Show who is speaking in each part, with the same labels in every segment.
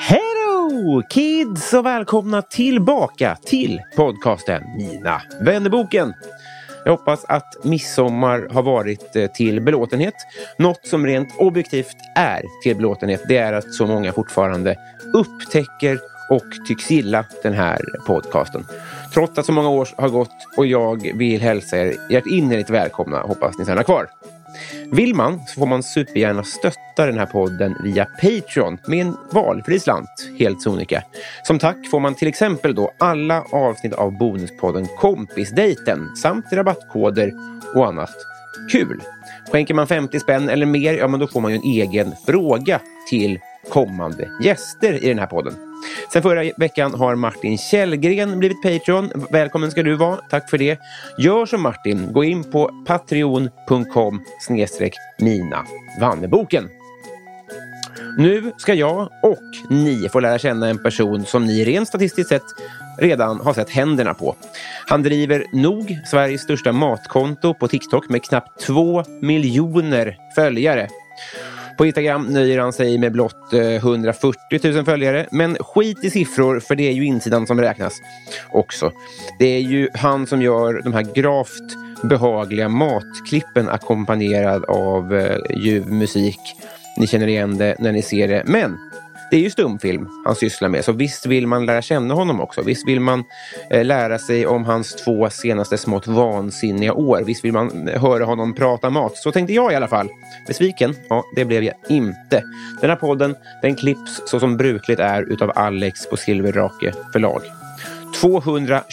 Speaker 1: Hej då kids och välkomna tillbaka till podcasten Mina vännerboken. Jag hoppas att midsommar har varit eh, till belåtenhet. Något som rent objektivt är till belåtenhet det är att så många fortfarande upptäcker och tycks gilla den här podcasten. Trots att så många år har gått och jag vill hälsa er hjärtinnerligt välkomna. Hoppas ni stannar kvar. Vill man så får man supergärna stötta den här podden via Patreon med en valfri slant, helt sonika. Som tack får man till exempel då alla avsnitt av bonuspodden Kompisdejten samt rabattkoder och annat kul. Skänker man 50 spänn eller mer, ja men då får man ju en egen fråga till kommande gäster i den här podden. Sen förra veckan har Martin Källgren blivit Patreon. Välkommen ska du vara. Tack för det. Gör som Martin. Gå in på patreon.com snedstreck mina Vanneboken. Nu ska jag och ni få lära känna en person som ni rent statistiskt sett redan har sett händerna på. Han driver nog Sveriges största matkonto på TikTok med knappt två miljoner följare. På Instagram nöjer han sig med blott eh, 140 000 följare. Men skit i siffror, för det är ju insidan som räknas också. Det är ju han som gör de här gravt behagliga matklippen ackompanjerad av eh, ljuv musik. Ni känner igen det när ni ser det. Men det är ju stumfilm han sysslar med, så visst vill man lära känna honom också. Visst vill man eh, lära sig om hans två senaste smått vansinniga år. Visst vill man eh, höra honom prata mat. Så tänkte jag i alla fall. Besviken? Ja, det blev jag inte. Den här podden den klipps så som brukligt är utav Alex på Silverrake förlag. 221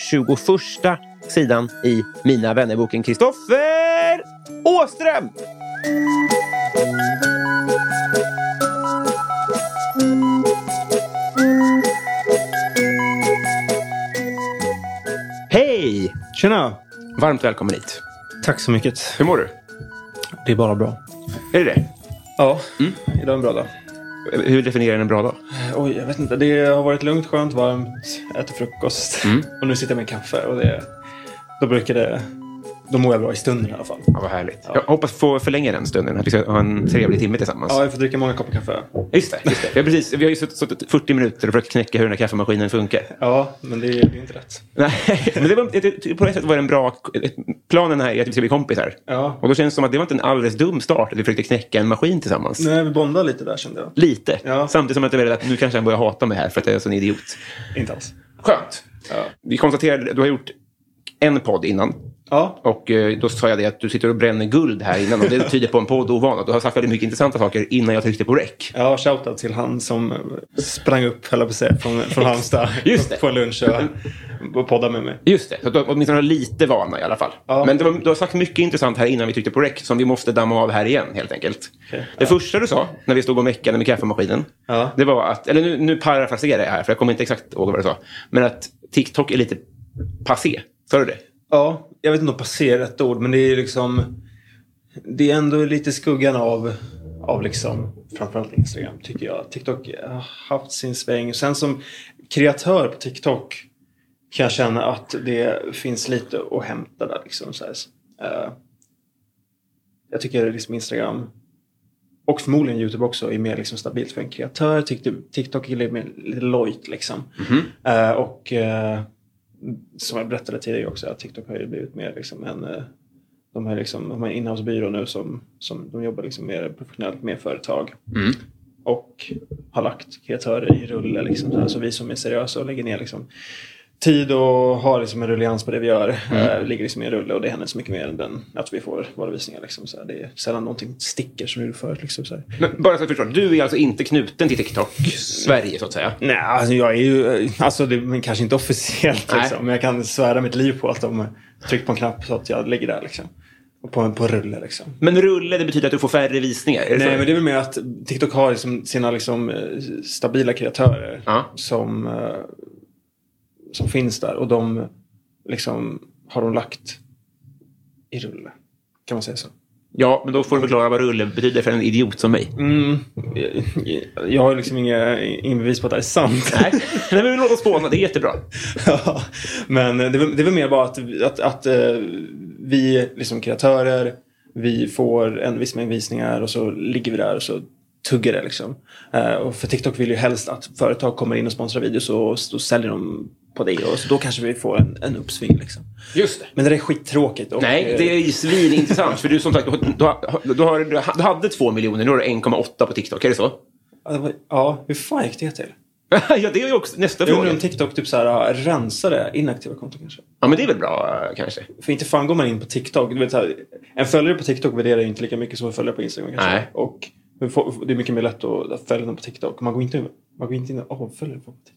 Speaker 1: sidan i Mina vännerboken Kristoffer Åström! Hej!
Speaker 2: Tjena!
Speaker 1: Varmt välkommen hit.
Speaker 2: Tack så mycket.
Speaker 1: Hur mår du?
Speaker 2: Det är bara bra.
Speaker 1: Är det det?
Speaker 2: Ja, idag är en bra dag.
Speaker 1: Hur definierar en en bra dag?
Speaker 2: Oj, jag vet inte. Det har varit lugnt, skönt, varmt. Äter frukost. Och nu sitter jag med kaffe. Och det, då brukar det... Då mår jag bra i stunden i alla fall.
Speaker 1: Ja, vad härligt. Jag hoppas få förlänga den stunden. Att vi ska ha en trevlig timme tillsammans.
Speaker 2: Ja, jag får dricka många koppar kaffe.
Speaker 1: Just det. Just det. Vi, har precis, vi har ju suttit- suttit 40 minuter och försökt knäcka hur den här kaffemaskinen funkar.
Speaker 2: Ja, men det, det är inte rätt.
Speaker 1: Nej, men det var, ett- på ett sätt var det en bra... Planen här är att vi ska bli kompisar.
Speaker 2: Ja.
Speaker 1: Och då känns det som att det var inte en alldeles dum start att vi försökte knäcka en maskin tillsammans.
Speaker 2: Nej, vi bondar lite där kände jag.
Speaker 1: Lite.
Speaker 2: Ja.
Speaker 1: Samtidigt som att jag är rädd att nu kanske han börjar hata mig här för att jag är en sån idiot.
Speaker 2: Inte alls.
Speaker 1: Skönt.
Speaker 2: Ja.
Speaker 1: Vi konstaterade, du har gjort en podd innan.
Speaker 2: Ja,
Speaker 1: Och eh, då sa jag det att du sitter och bränner guld här innan och det tyder på en poddovana. Du har sagt väldigt mycket intressanta saker innan jag tryckte på rec.
Speaker 2: ja shoutout till han som sprang upp, höll jag på att säga, från, från Halmstad.
Speaker 1: Just det.
Speaker 2: På en lunch och, och poddade med mig.
Speaker 1: Just det, så att du har åtminstone lite vana i alla fall.
Speaker 2: Ja.
Speaker 1: Men du, har- du har sagt mycket intressant här innan vi tryckte på rec som vi måste damma av här igen helt enkelt. Det första du sa när vi stod och meckade med kaffemaskinen,
Speaker 2: Ja.
Speaker 1: det var att, eller nu, nu parafraserar jag här för jag kommer inte exakt ihåg vad du sa, men att TikTok är lite passé. Sa du det?
Speaker 2: Ja, jag vet inte om passé är rätt ord, men det är ju liksom... Det är ändå lite i skuggan av, av liksom, framförallt Instagram tycker jag. TikTok eh, har haft sin sväng. Sen som kreatör på TikTok kan jag känna att det finns lite att hämta där. Liksom, så här. Eh, jag tycker liksom Instagram och förmodligen Youtube också är mer liksom stabilt för en kreatör. TikTok- TikTok är lite mer lite lojt liksom. Eh, och eh, som jag berättade tidigare också att TikTok har ju blivit mer liksom en eh, de har liksom, de har en inhousebyrå nu som, som de jobbar liksom mer professionellt med företag. Och har lagt kreatörer i rulle liksom. Så, här. så vi som är seriösa och lägger ner liksom tid och har liksom en rullians på det vi gör. eh, ligger liksom i en rulle och det händer så mycket mer än den, att vi får våra visningar. Liksom, så här. Det är sällan någonting sticker som det gjorde förut. Liksom, så här.
Speaker 1: Men bara så att jag förstår, du är alltså inte knuten till TikTok Sverige så att säga?
Speaker 2: Nej, alltså jag är ju, alltså det, men kanske inte officiellt
Speaker 1: Nej.
Speaker 2: liksom. Men jag kan svära mitt liv på att de tryckt på en knapp så att jag ligger där liksom. Och på en på en rulle liksom.
Speaker 1: Men rulle, det betyder att du får färre visningar? Är det
Speaker 2: Nej,
Speaker 1: så?
Speaker 2: men det är väl mer att TikTok har liksom sina liksom, eh, stabila kreatörer
Speaker 1: Ja.
Speaker 2: som, eh, som finns där. Och de liksom, har de lagt i rulle. Kan man säga så?
Speaker 1: Ja, men då får du förklara vad rulle betyder för en idiot som mig.
Speaker 2: Mm. Jag har liksom inga, ingen bevis på att det här är sant.
Speaker 1: Nej, Nej men låt oss spåna. Det är jättebra.
Speaker 2: Ja, men det är, väl- det är väl mer bara att, att, att eh, vi liksom kreatörer, vi får en viss mängd visningar och så ligger vi där och så tuggar det liksom. Eh, och för TikTok vill ju helst att företag kommer in och sponsrar videos och så säljer de på det och så då kanske vi får en, en uppsving liksom.
Speaker 1: Just det.
Speaker 2: Men det där är skittråkigt. Och,
Speaker 1: Nej,
Speaker 2: eh,
Speaker 1: det är ju svinintressant. För du som sagt, du, har- du, har, du hade två miljoner, nu har du 1,8 på TikTok. Är det så?
Speaker 2: ja, det var- Ja, hur fan gick det till?
Speaker 1: ja, det är ju också nästa
Speaker 2: Jag
Speaker 1: fråga.
Speaker 2: undrar om TikTok typ så här, rensade inaktiva konton kanske.
Speaker 1: Ja, men det är väl bra eh, kanske?
Speaker 2: För inte fan går man in på TikTok. Du vet, så här, en följare på TikTok värderar ju inte lika mycket som en följare på Instagram kanske.
Speaker 1: Nej.
Speaker 2: Och hur få- det är mycket mer lätt att att följa någon på TikTok. Man går inte in, man går inte in och avföljer folk på TikTok.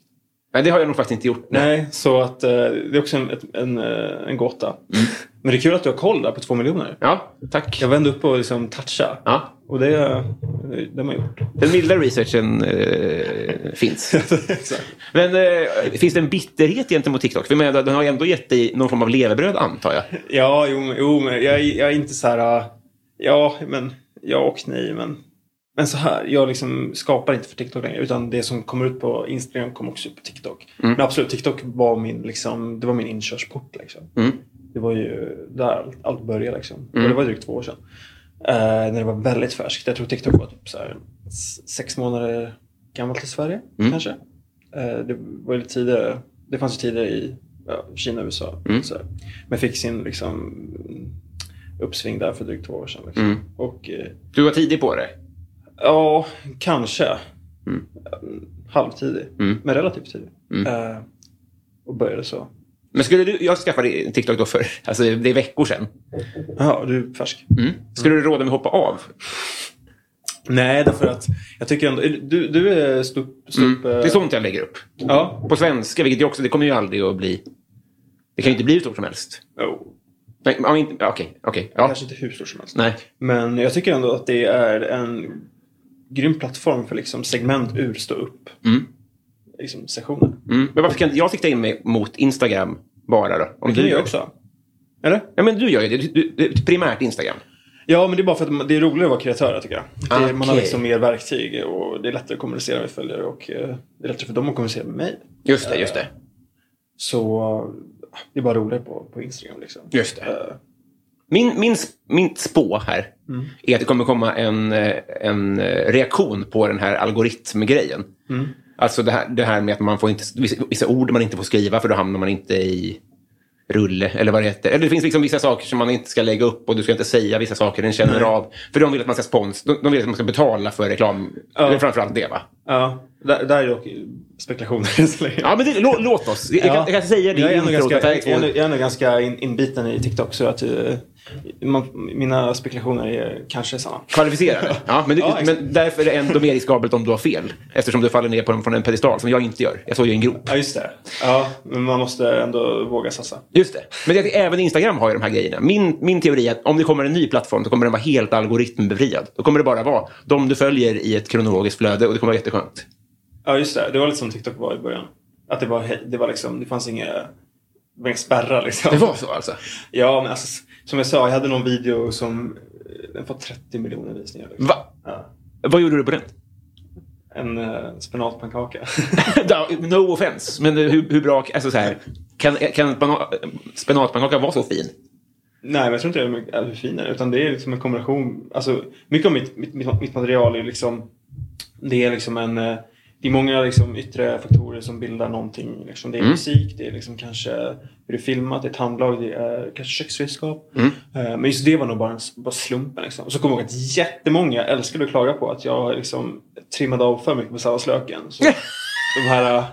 Speaker 1: Nej, det har jag nog faktiskt inte gjort. Nej.
Speaker 2: Nej, så att, eh, det är också en, ett, en, eh, en gåta. Men det är kul att du har koll där på två miljoner.
Speaker 1: Mm. Ja, tack.
Speaker 2: Jag vände upp och liksom toucha.
Speaker 1: Ja.
Speaker 2: Och det, eh, det, det har man gjort.
Speaker 1: Den milda researchen eh, finns.
Speaker 2: Exakt.
Speaker 1: Men eh, finns det en bitterhet gentemot TikTok? För jag menar, den har ju ändå gett dig någon form av levebröd, antar jag.
Speaker 2: Ja, jo, men- jo men jag, är- jag är inte så här... äh, Ja, men ja och nej, men... Men så här, jag liksom skapar inte för TikTok längre. Utan det som kommer ut på Instagram kommer också ut på TikTok. Men absolut, TikTok var min, liksom, det var min inkörsport. Liksom. Det var ju där allt, allt började. Liksom. Och det var drygt två år sedan. Eh, när det var väldigt färskt. Jag tror TikTok var typ så här, s- sex månader gammalt i Sverige. Kanske. Eh, det var ju lite tidigare. Det fanns ju tidigare i ja, Kina och USA. Så här. Men fick sin liksom, uppsving där för drygt två år sedan. Liksom. Och, eh,
Speaker 1: Du var tidig på det.
Speaker 2: Ja, kanske. Mm. Halvtidig, men relativt tidig. Eh, och började så.
Speaker 1: Men skulle du, jag skaffade TikTok då för, alltså det är veckor sedan.
Speaker 2: Jaha, du är färsk.
Speaker 1: Skulle du råda mig att hoppa av?
Speaker 2: Nej, därför att jag tycker ändå... Du, du är stup... stup eh,
Speaker 1: Det är sånt jag lägger upp.
Speaker 2: Ja.
Speaker 1: På svenska, vilket jag också, det kommer ju aldrig att bli. Det kan ju inte bli hur stort som helst.
Speaker 2: Jo,
Speaker 1: Nej, men om inte- ja, Okej, okej. Ja.
Speaker 2: Kanske inte hur stort som helst.
Speaker 1: Nej.
Speaker 2: Men jag tycker ändå att det är en grym plattform för liksom segment ur stå upp. Liksom sessioner.
Speaker 1: Mm. Men varför kan inte jag sikta in mig mot Instagram bara då? Om
Speaker 2: Det kan du
Speaker 1: gör
Speaker 2: göra också. Eller?
Speaker 1: Ja, men du gör ju det. Du, du, du, primärt Instagram.
Speaker 2: Ja, men det är bara för att man- det är roligare att vara kreatör tycker jag. Det är, Man har
Speaker 1: Okej.
Speaker 2: liksom mer verktyg och det är lättare att kommunicera med följare och eh, det är lättare för dem att kommunicera med mig.
Speaker 1: Just det, just det.
Speaker 2: Så eh, det är bara roligare på, på Instagram liksom.
Speaker 1: Just det.
Speaker 2: Eh,
Speaker 1: Min, min, sp- mitt spå här är att det kommer komma en, eh, en eh, reaktion på den här algoritmgrejen. Alltså det här, det här med att man får inte, vissa, vissa ord man inte får skriva för då hamnar man inte i rulle eller vad det heter. Eller det finns liksom vissa saker som man inte ska lägga upp och du ska inte säga vissa saker den känner av. För de vill att man ska spons, de, de vill att man ska betala för reklam. Eller framförallt det va?
Speaker 2: Ja, där, där är dock spekulationer än så länge.
Speaker 1: Ja men det, lå, låt oss. Jag, jag, kan, jag kan säga det
Speaker 2: jag
Speaker 1: i
Speaker 2: är nog
Speaker 1: introt
Speaker 2: ganska,
Speaker 1: att det här är
Speaker 2: jag,
Speaker 1: två-
Speaker 2: är nog- jag är nog ganska in, inbiten i TikTok så att eh, man, mina spekulationer är kanske sanna.
Speaker 1: Kvalificerade. Ja, men, du,
Speaker 2: Ja, exakt.
Speaker 1: men därför är det ändå mer riskabelt om du har fel. Eftersom du faller ner på en, från en pedestal, som jag inte gör. Jag såg ju en grop.
Speaker 2: Ja, just det. Ja, men man måste ändå våga satsa.
Speaker 1: Just det. Men det, även Instagram har ju de här grejerna. Min, min teori är att om det kommer en ny plattform, då kommer den vara helt algoritmbefriad. Då kommer det bara vara de du följer i ett kronologiskt flöde och det kommer vara jätteskönt.
Speaker 2: Ja, just det. Det var lite som TikTok var i början. Att det var, he- det var liksom, det fanns inga, det var inga spärrar liksom.
Speaker 1: Det var så alltså?
Speaker 2: Ja, men alltså, som jag sa, jag hade någon video som eh, den får 30 miljoner visningar. Liksom.
Speaker 1: Va?
Speaker 2: Ja.
Speaker 1: Vad gjorde du på den?
Speaker 2: En eh, spenatpannkaka.
Speaker 1: Ja, no offense, men hur, hur bra... Alltså så här, kan kan banan- spenatpannkaka vara så fin?
Speaker 2: Nej, men jag tror inte det är med- är hur fin den är. Utan det är liksom en kombination. Alltså, mycket av mitt, mitt, mitt, mitt material är liksom... Det är liksom en... eh, Det är många liksom yttre faktorer som bildar någonting. Liksom. Det är musik, det är liksom kanske hur det är filmat, det är ett handlag, det är kanske köksredskap. Eh, Men just det var nog bara, en, s- bara slumpen. Liksom. Och så kommer jag ihåg att jättemånga älskade att klaga på att jag liksom trimmade av för mycket på salladslöken. Så de här... eh,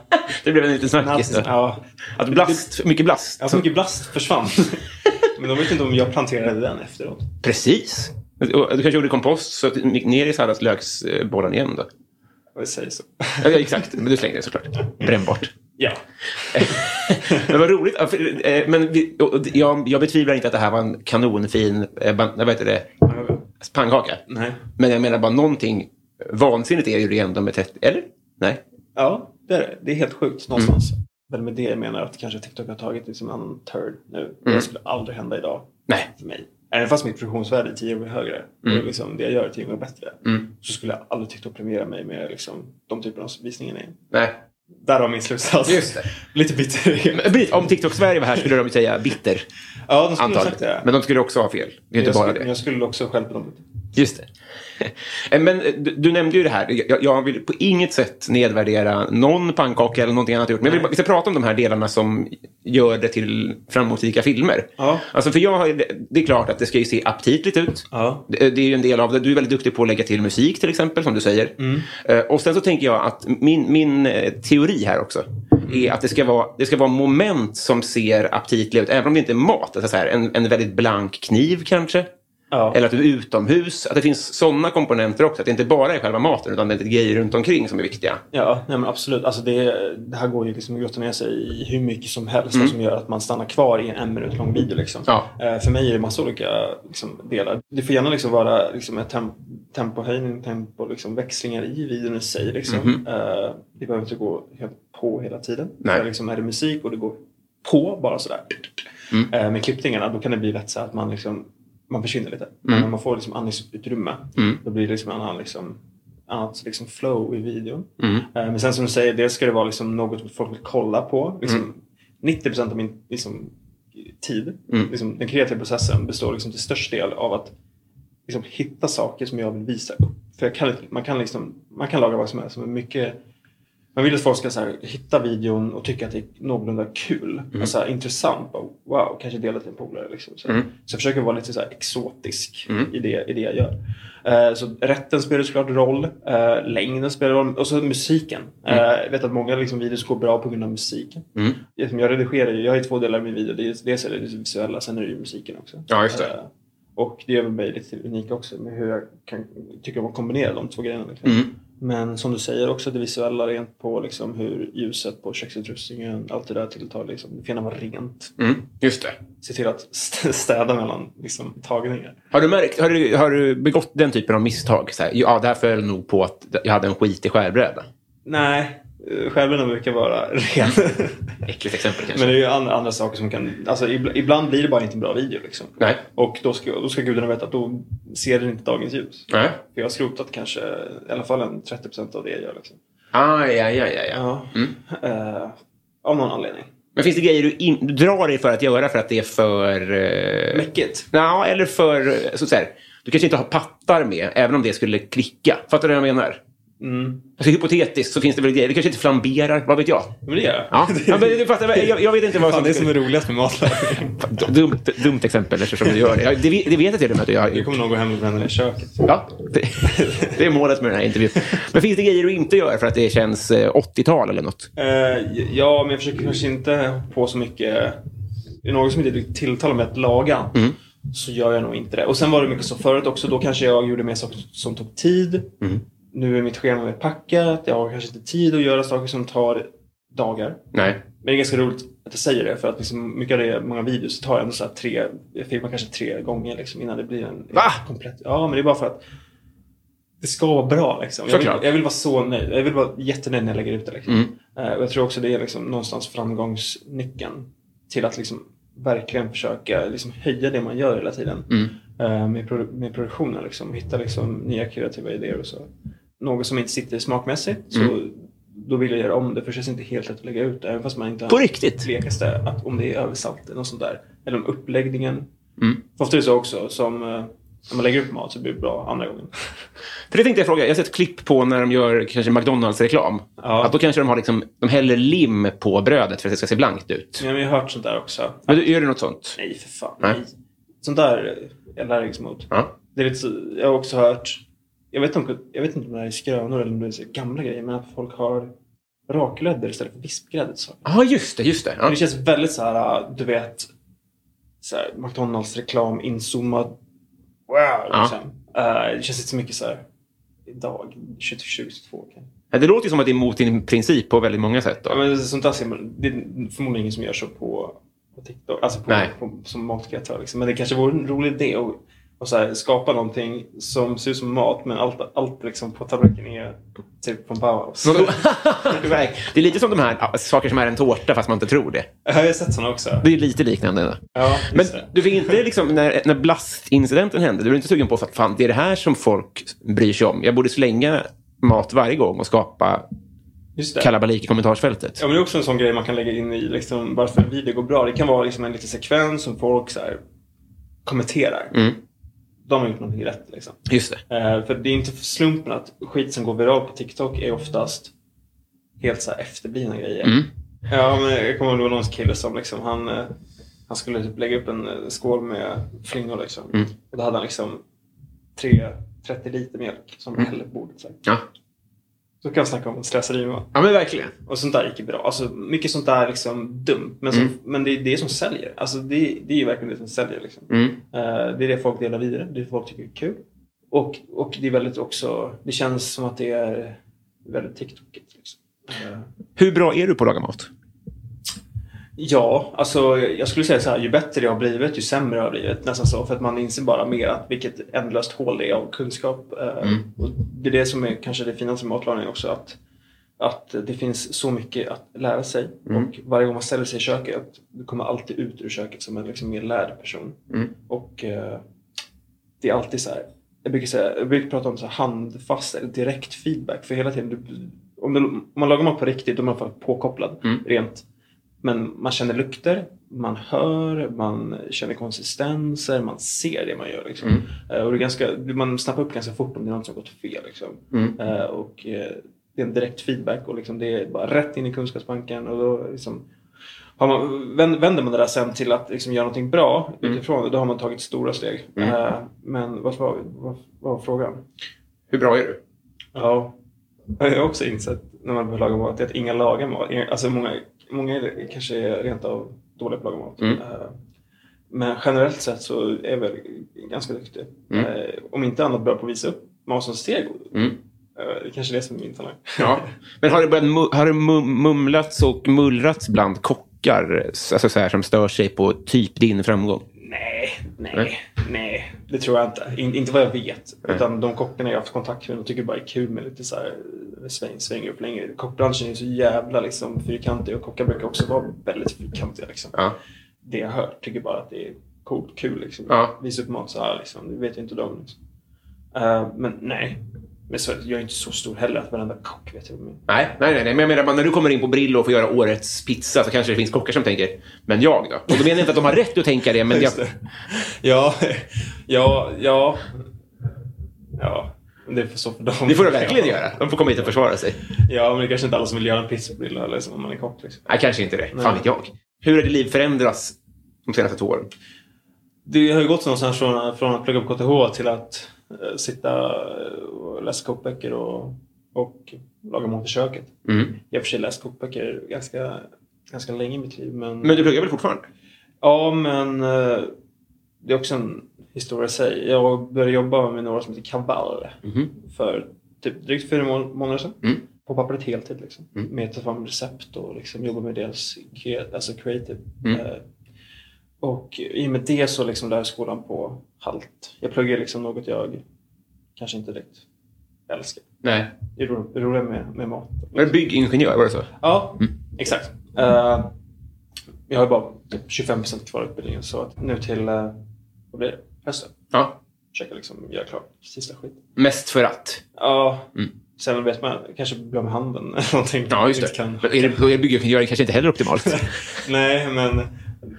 Speaker 1: Det blev en liten snackis.
Speaker 2: Nazi,
Speaker 1: där.
Speaker 2: ja,
Speaker 1: Att blast, mycket blast.
Speaker 2: Ja, så mycket blast försvann. Men de vet inte om jag planterade den efteråt.
Speaker 1: Precis. Och Du kanske gjorde kompost så att det gick ner i salladslöksbollen igen då?
Speaker 2: Jag säger så.
Speaker 1: Ja, ja, exakt. Men du slängde det såklart. Brännbart.
Speaker 2: Ja.
Speaker 1: Men vad roligt. Ja, för, eh, Men vi, och- och jag, jag betvivlar inte att det här var en kanonfin eh, ban- vad heter det? pannkaka.
Speaker 2: Nej.
Speaker 1: Men jag menar bara någonting vansinnigt är ju det ändå med 30... Eller? Nej.
Speaker 2: Ja, det är, det. det är helt
Speaker 1: Mm.
Speaker 2: sjukt någonstans. Men med det jag menar att kanske TikTok har tagit liksom en turd nu. Det skulle aldrig hända idag
Speaker 1: Mm. Nej. Mm.
Speaker 2: för mig. Även fast mitt produktionsvärde är tio gånger högre och liksom det jag gör är tio gånger bättre så skulle jag aldrig TikTok premiera mig med liksom de typerna av visningar igen.
Speaker 1: Nej.
Speaker 2: Därav min slutsats.
Speaker 1: Just det.
Speaker 2: Lite bitter.
Speaker 1: Men Britt, om TikTok-Sverige var här skulle de ju säga bitter,
Speaker 2: Ja, de skulle ha sagt
Speaker 1: antagligen.
Speaker 2: det.
Speaker 1: Men de skulle också ha fel. Det är ju
Speaker 2: jag,
Speaker 1: inte bara
Speaker 2: skulle,
Speaker 1: det.
Speaker 2: jag skulle också själv dem.
Speaker 1: Just det. Eh, Men eh, du, du nämnde ju det här. Jag, jag vill på inget sätt nedvärdera någon pannkaka eller någonting annat jag gjort. Men jag vill, bara- vi ska prata om de här delarna som gör det till framgångsrika filmer.
Speaker 2: Ja.
Speaker 1: Alltså för jag har, ju- det är klart att det ska ju se aptitligt ut.
Speaker 2: Ja.
Speaker 1: Det, det är ju en del av det. Du är väldigt duktig på att lägga till musik till exempel, som du säger.
Speaker 2: Mm.
Speaker 1: Eh, Och sen så tänker jag att min, min eh, teori här också är att det ska, vara, det ska vara moment som ser aptitliga ut, även om det inte är mat. Alltså så här, en, en väldigt blank kniv kanske.
Speaker 2: Ja.
Speaker 1: Eller att du är utomhus. Att det finns sådana komponenter också. Att det inte bara är själva maten utan det är grejer runt omkring som är viktiga.
Speaker 2: Ja, nej men absolut. Alltså det, det här går ju liksom att grotta ner sig i hur mycket som helst som gör att man stannar kvar i en en minut lång video. Liksom.
Speaker 1: Ja.
Speaker 2: Eh, för mig är det massa olika liksom, delar. Det får gärna liksom vara liksom, ett tem- tempohöjning, tempo, liksom, växlingar i videon i sig. Liksom. Eh, det behöver inte gå helt på hela tiden.
Speaker 1: Nej.
Speaker 2: För Liksom, är det musik och det går på bara sådär eh, med klippningarna, då kan det bli lätt så att man, liksom, man försvinner lite. Men när man får liksom andningsutrymme, då blir det liksom en annan liksom, annat liksom flow i videon. Eh, Men sen som du säger, dels ska det vara liksom något folk vill kolla på. Liksom, 90 av min liksom, tid, liksom, den kreativa processen, består liksom till störst del av att liksom, hitta saker som jag vill visa upp. För jag kan, man, kan liksom, man kan laga vad som helst, men mycket man vill att folk ska så här, hitta videon och tycka att det är någorlunda kul. Alltså, intressant. Bara, wow, kanske dela till en polare. Liksom. Så, så jag försöker vara lite så här, exotisk i, det, i det jag gör. Eh, så rätten spelar såklart roll. eh, längden spelar roll. Och så musiken. Eh, jag vet att många liksom, videos går bra på grund av musiken. Liksom, Jag redigerar ju. Jag har ju två delar i min video. Dels dels är det det visuella, sen är det ju musiken också.
Speaker 1: Ja, just det.
Speaker 2: Eh, och det gör mig lite unik också med hur jag kan, tycker om att kombinera de två grejerna. Liksom.
Speaker 1: Mm.
Speaker 2: Men som du säger också det visuella rent på liksom hur ljuset på köksutrustningen, allt det där tilltar. Liksom, det får gärna vara rent.
Speaker 1: Mm, Just det.
Speaker 2: Se till att st- städa mellan liksom, tagningar.
Speaker 1: Har du, märkt, har, du, har du begått den typen av misstag? Så här, ja, det här föll nog på att jag hade en skitig skärbräda.
Speaker 2: Nej, eh, skärmen brukar vara ren.
Speaker 1: Äckligt exempel kanske.
Speaker 2: Men det är ju andra, andra saker som kan... Alltså, ibl- ibland blir det bara inte en bra video. Liksom.
Speaker 1: Nej.
Speaker 2: Och då ska, då ska gudarna veta att då ser den inte dagens ljus.
Speaker 1: Nej.
Speaker 2: För jag har skrotat kanske i alla fall en 30% av det jag gör. Liksom.
Speaker 1: Ah, ja, ja, ja, ja.
Speaker 2: Ja. Eh, av någon anledning.
Speaker 1: Men finns det grejer du, in, du drar dig för att göra för att det är för... Eh,
Speaker 2: Mäckigt.
Speaker 1: ja, eller för... eh, Så, så här, du kanske inte har pattar med, även om det skulle klicka. Fattar du vad jag menar?
Speaker 2: Mm.
Speaker 1: Alltså, hypotetiskt så finns det väl grejer. Du kanske inte flamberar, vad vet jag?
Speaker 2: Men det gör jag.
Speaker 1: Ja, ja men du fattar, väl, jag, jag vet inte vad
Speaker 2: Fan,
Speaker 1: som...
Speaker 2: det är som är roligast med matlagning.
Speaker 1: Dumt, dumt exempel eftersom du gör det. Ja, Det, vet- det vet jag till och med att jag har
Speaker 2: Nu
Speaker 1: gjort.
Speaker 2: kommer någon gå hem och bränna ner köket.
Speaker 1: Ja, det, det är målet med den här intervjun. Men finns det grejer du inte gör för att det känns eh, 80-tal eller något?
Speaker 2: Eh, ja, men jag försöker kanske inte på så mycket. Det är något som inte tilltalar mig att laga. Så gör jag nog inte det. Och sen var det mycket så förut också. Då kanske jag gjorde mer saker som tog tid. Nu är mitt schema packat. Jag har kanske inte tid att göra saker som tar dagar.
Speaker 1: Nej.
Speaker 2: Men det är ganska roligt att jag säger det för att liksom mycket av det, många videos tar jag ändå så här tre, jag filmar kanske tre gånger liksom innan det blir en
Speaker 1: Va?
Speaker 2: komplett. Ja, men det är bara för att det ska vara bra liksom. Jag vill,
Speaker 1: Såklart. Mm.
Speaker 2: jag vill vara så nöjd. Jag vill vara jättenöjd när jag lägger ut det liksom. Eh, och jag tror också det är liksom någonstans framgångsnyckeln till att liksom verkligen försöka liksom höja det man gör hela tiden
Speaker 1: Mm.
Speaker 2: eh, med, produ- med produktionen. Liksom. Hitta liksom nya kreativa idéer och så. Något som inte sitter smakmässigt så
Speaker 1: Mm.
Speaker 2: då vill jag göra om det för det känns inte helt lätt att lägga ut det. Även fast man inte
Speaker 1: På riktigt?
Speaker 2: blekaste att om det är översalt eller något sånt där. Eller om uppläggningen.
Speaker 1: Mm.
Speaker 2: Ofta är det så också. Som, eh, när man lägger upp mat så blir det bra andra gången.
Speaker 1: För det tänkte jag fråga. Jag har sett klipp på när de gör kanske McDonalds-reklam.
Speaker 2: Ja.
Speaker 1: Att då kanske de, har liksom, de häller lim på brödet för att det ska se blankt ut.
Speaker 2: Men jag har hört sånt där också.
Speaker 1: Men du, gör du något sånt?
Speaker 2: Nej, för fan.
Speaker 1: Nej.
Speaker 2: Nej. Sånt där är jag allergisk mot.
Speaker 1: Ja.
Speaker 2: Det är lite, så- jag har också hört, jag vet, inte, om- jag vet inte om det här är skrönor eller om det är så gamla grejer, men att folk har raklödder istället för vispgrädde. Så.
Speaker 1: Ja, Ah, just det. Just det.
Speaker 2: Men
Speaker 1: Ja.
Speaker 2: Det känns väldigt så här, äh, du vet, så här, McDonalds reklam inzoomad. Wow, liksom. Eh, det känns inte så mycket så här, idag, 2022 kanske.
Speaker 1: Ja, Det låter ju som att det är emot din princip på väldigt många sätt. Då.
Speaker 2: Ja, men sånt där ser man, det är förmodligen ingen som gör så på, på TikTok, alltså på,
Speaker 1: Nej.
Speaker 2: på, som matkreatör. Liksom. Men det kanske vore en rolig idé att och så här, skapa någonting som ser ut som mat men allt, allt liksom på tallriken är typ från Bauhaus.
Speaker 1: Någon- det är lite som de här ja, saker som är en tårta fast man inte tror det.
Speaker 2: Jag har ju sett sådana också.
Speaker 1: Det är lite liknande. då.
Speaker 2: Ja,
Speaker 1: Men
Speaker 2: just det.
Speaker 1: du fick inte liksom, när, när blastincidenten hände, du blev inte sugen på att fan, det är det här som folk bryr sig om. Jag borde slänga mat varje gång och skapa
Speaker 2: Just det.
Speaker 1: kalabalik i kommentarsfältet.
Speaker 2: Ja, men det är också en sån grej man kan lägga in i liksom, varför en video går bra. Det kan vara liksom, en liten sekvens som folk så här, kommenterar.
Speaker 1: Mm.
Speaker 2: De har gjort någonting rätt. Liksom.
Speaker 1: Just det.
Speaker 2: Eh, för det är inte för slumpen att skit som går viral på TikTok är oftast helt så här efterblivna grejer.
Speaker 1: Mm.
Speaker 2: Ja, men jag kommer ihåg det var någon kille som liksom, han, eh, han skulle typ lägga upp en eh, skål med flingor. Liksom.
Speaker 1: Mm.
Speaker 2: Och då hade han liksom tre 30 liter mjölk som han hällde på bordet. Så, här.
Speaker 1: Mm. Ja.
Speaker 2: så kan man snacka om slöseri med
Speaker 1: ja, men verkligen.
Speaker 2: och sånt där gick ju bra. Alltså, mycket sånt där liksom dumt. Men, som,
Speaker 1: Mm.
Speaker 2: men det är det som säljer. Alltså, det, det är ju verkligen det som säljer. Liksom.
Speaker 1: Mm.
Speaker 2: Eh, det är det folk delar vidare. Det är det folk tycker är kul. Och, och det är väldigt också... Det känns som att det är väldigt TikTokigt. Liksom. Eh,
Speaker 1: Hur bra är du på att laga mat?
Speaker 2: ja, alltså jag skulle säga så här. Ju bättre jag har blivit, ju sämre jag har blivit. Nästan så. För att man inser bara mer att vilket ändlöst hål det är av kunskap. Eh, och det är det som är kanske det finaste med matlagning också. Att, att det finns så mycket att lära sig. Och varje gång man ställer sig i köket, att du kommer alltid ut ur köket som en liksom mer lärd person. Och eh, det är alltid så här. Jag brukar, säga, jag brukar prata om så här handfast eller direkt feedback. För hela tiden, du, om, du, om man lagar mat på riktigt, då är man fan påkopplad rent. Men man känner lukter, man hör, man känner konsistenser, man ser det man gör. Liksom. Eh, Och det är ganska, man snappar upp ganska fort om det är något som har gått fel. Liksom. Eh, Och eh, det är en direkt feedback och liksom det är bara rätt in i kunskapsbanken. Och då liksom har man, vänd- vänder man det där sen till att liksom göra någonting bra utifrån det, då har man tagit stora steg. Eh, Men vad var, vad, vad var frågan?
Speaker 1: Hur bra är du?
Speaker 2: Ja. Jag har också insett när man börjar laga mat det är att inga lagar mat. Alltså många, många är kanske är rent av dåliga på att laga mat. Eh, Men generellt sett så är jag väl ganska duktig. Eh, Om inte annat bra på att visa upp mat som ser god ut. Eh, Det är kanske är det som är min talang.
Speaker 1: Ja. Men har det, börjat mu- har det mum- mumlats och mullrats bland kockar alltså så här, som stör sig på typ din framgång?
Speaker 2: Nej, nej, nej. Det tror jag inte. In, inte vad jag vet. Utan de kockarna jag har haft kontakt med, de tycker bara det är kul med lite så här eh, sväng, sväng upp längre. Kockbranschen är så jävla liksom fyrkantig och kockar brukar också vara väldigt fyrkantiga. Liksom.
Speaker 1: Ja.
Speaker 2: Det jag hör tycker bara att det är coolt, kul liksom.
Speaker 1: Ja.
Speaker 2: Visa upp mat så här liksom. Det vet ju inte de. Liksom. Eh, men nej. Men så, jag är inte så stor heller att varenda kock vet hur man
Speaker 1: Nej, nej, nej, nej. Men jag menar bara när du kommer in på Brillo och får göra årets pizza så kanske det finns kockar som tänker, men jag då? Och då menar jag inte att de har rätt att tänka det, men jag,
Speaker 2: Just det. Ja, ja, ja. Ja, men det får stå för dem.
Speaker 1: det får de verkligen
Speaker 2: Ja.
Speaker 1: göra. De får komma hit och försvara sig.
Speaker 2: Ja, men det är kanske inte alla som vill göra en pizzabrilla eller som om man är kock. Liksom.
Speaker 1: Nej, kanske inte det. Fan vet jag. Hur har ditt liv förändrats de senaste två åren?
Speaker 2: Det har ju gått någonstans från, från att plugga på KTH till att eh, sitta eh, och läsa kokböcker och, och laga mat i köket.
Speaker 1: Mm.
Speaker 2: Jag har i och för sig läst kokböcker ganska, ganska länge i mitt liv. Men,
Speaker 1: Men du pluggar väl fortfarande?
Speaker 2: Ja, men eh, det är också en historia i sig. Jag började jobba med några som heter Kabal för typ drygt fyra må- månader sedan. På pappret heltid liksom. Med att ta fram recept och liksom jobba med deras cre- alltså creative. Eh, och i och med det så liksom lär jag skolan på halt. Jag pluggar liksom något jag kanske inte direkt älskar.
Speaker 1: Nej.
Speaker 2: Det är ro- det roliga med, med mat.
Speaker 1: Var du byggingenjör? Var det så?
Speaker 2: Ja,
Speaker 1: Mm.
Speaker 2: exakt. Eh, jag har ju bara typ 25 kvar av utbildningen så att nu till eh, vad blir det? hösten
Speaker 1: Ja.
Speaker 2: försöka liksom göra klart sista skit.
Speaker 1: Mest för att?
Speaker 2: Ja, sen vet man kanske glömmer handen eller någonting.
Speaker 1: Mm. Ja, just
Speaker 2: Inte
Speaker 1: det.
Speaker 2: Kan.
Speaker 1: Men Är det, då är byggingenjör kanske inte heller optimalt.
Speaker 2: nej, men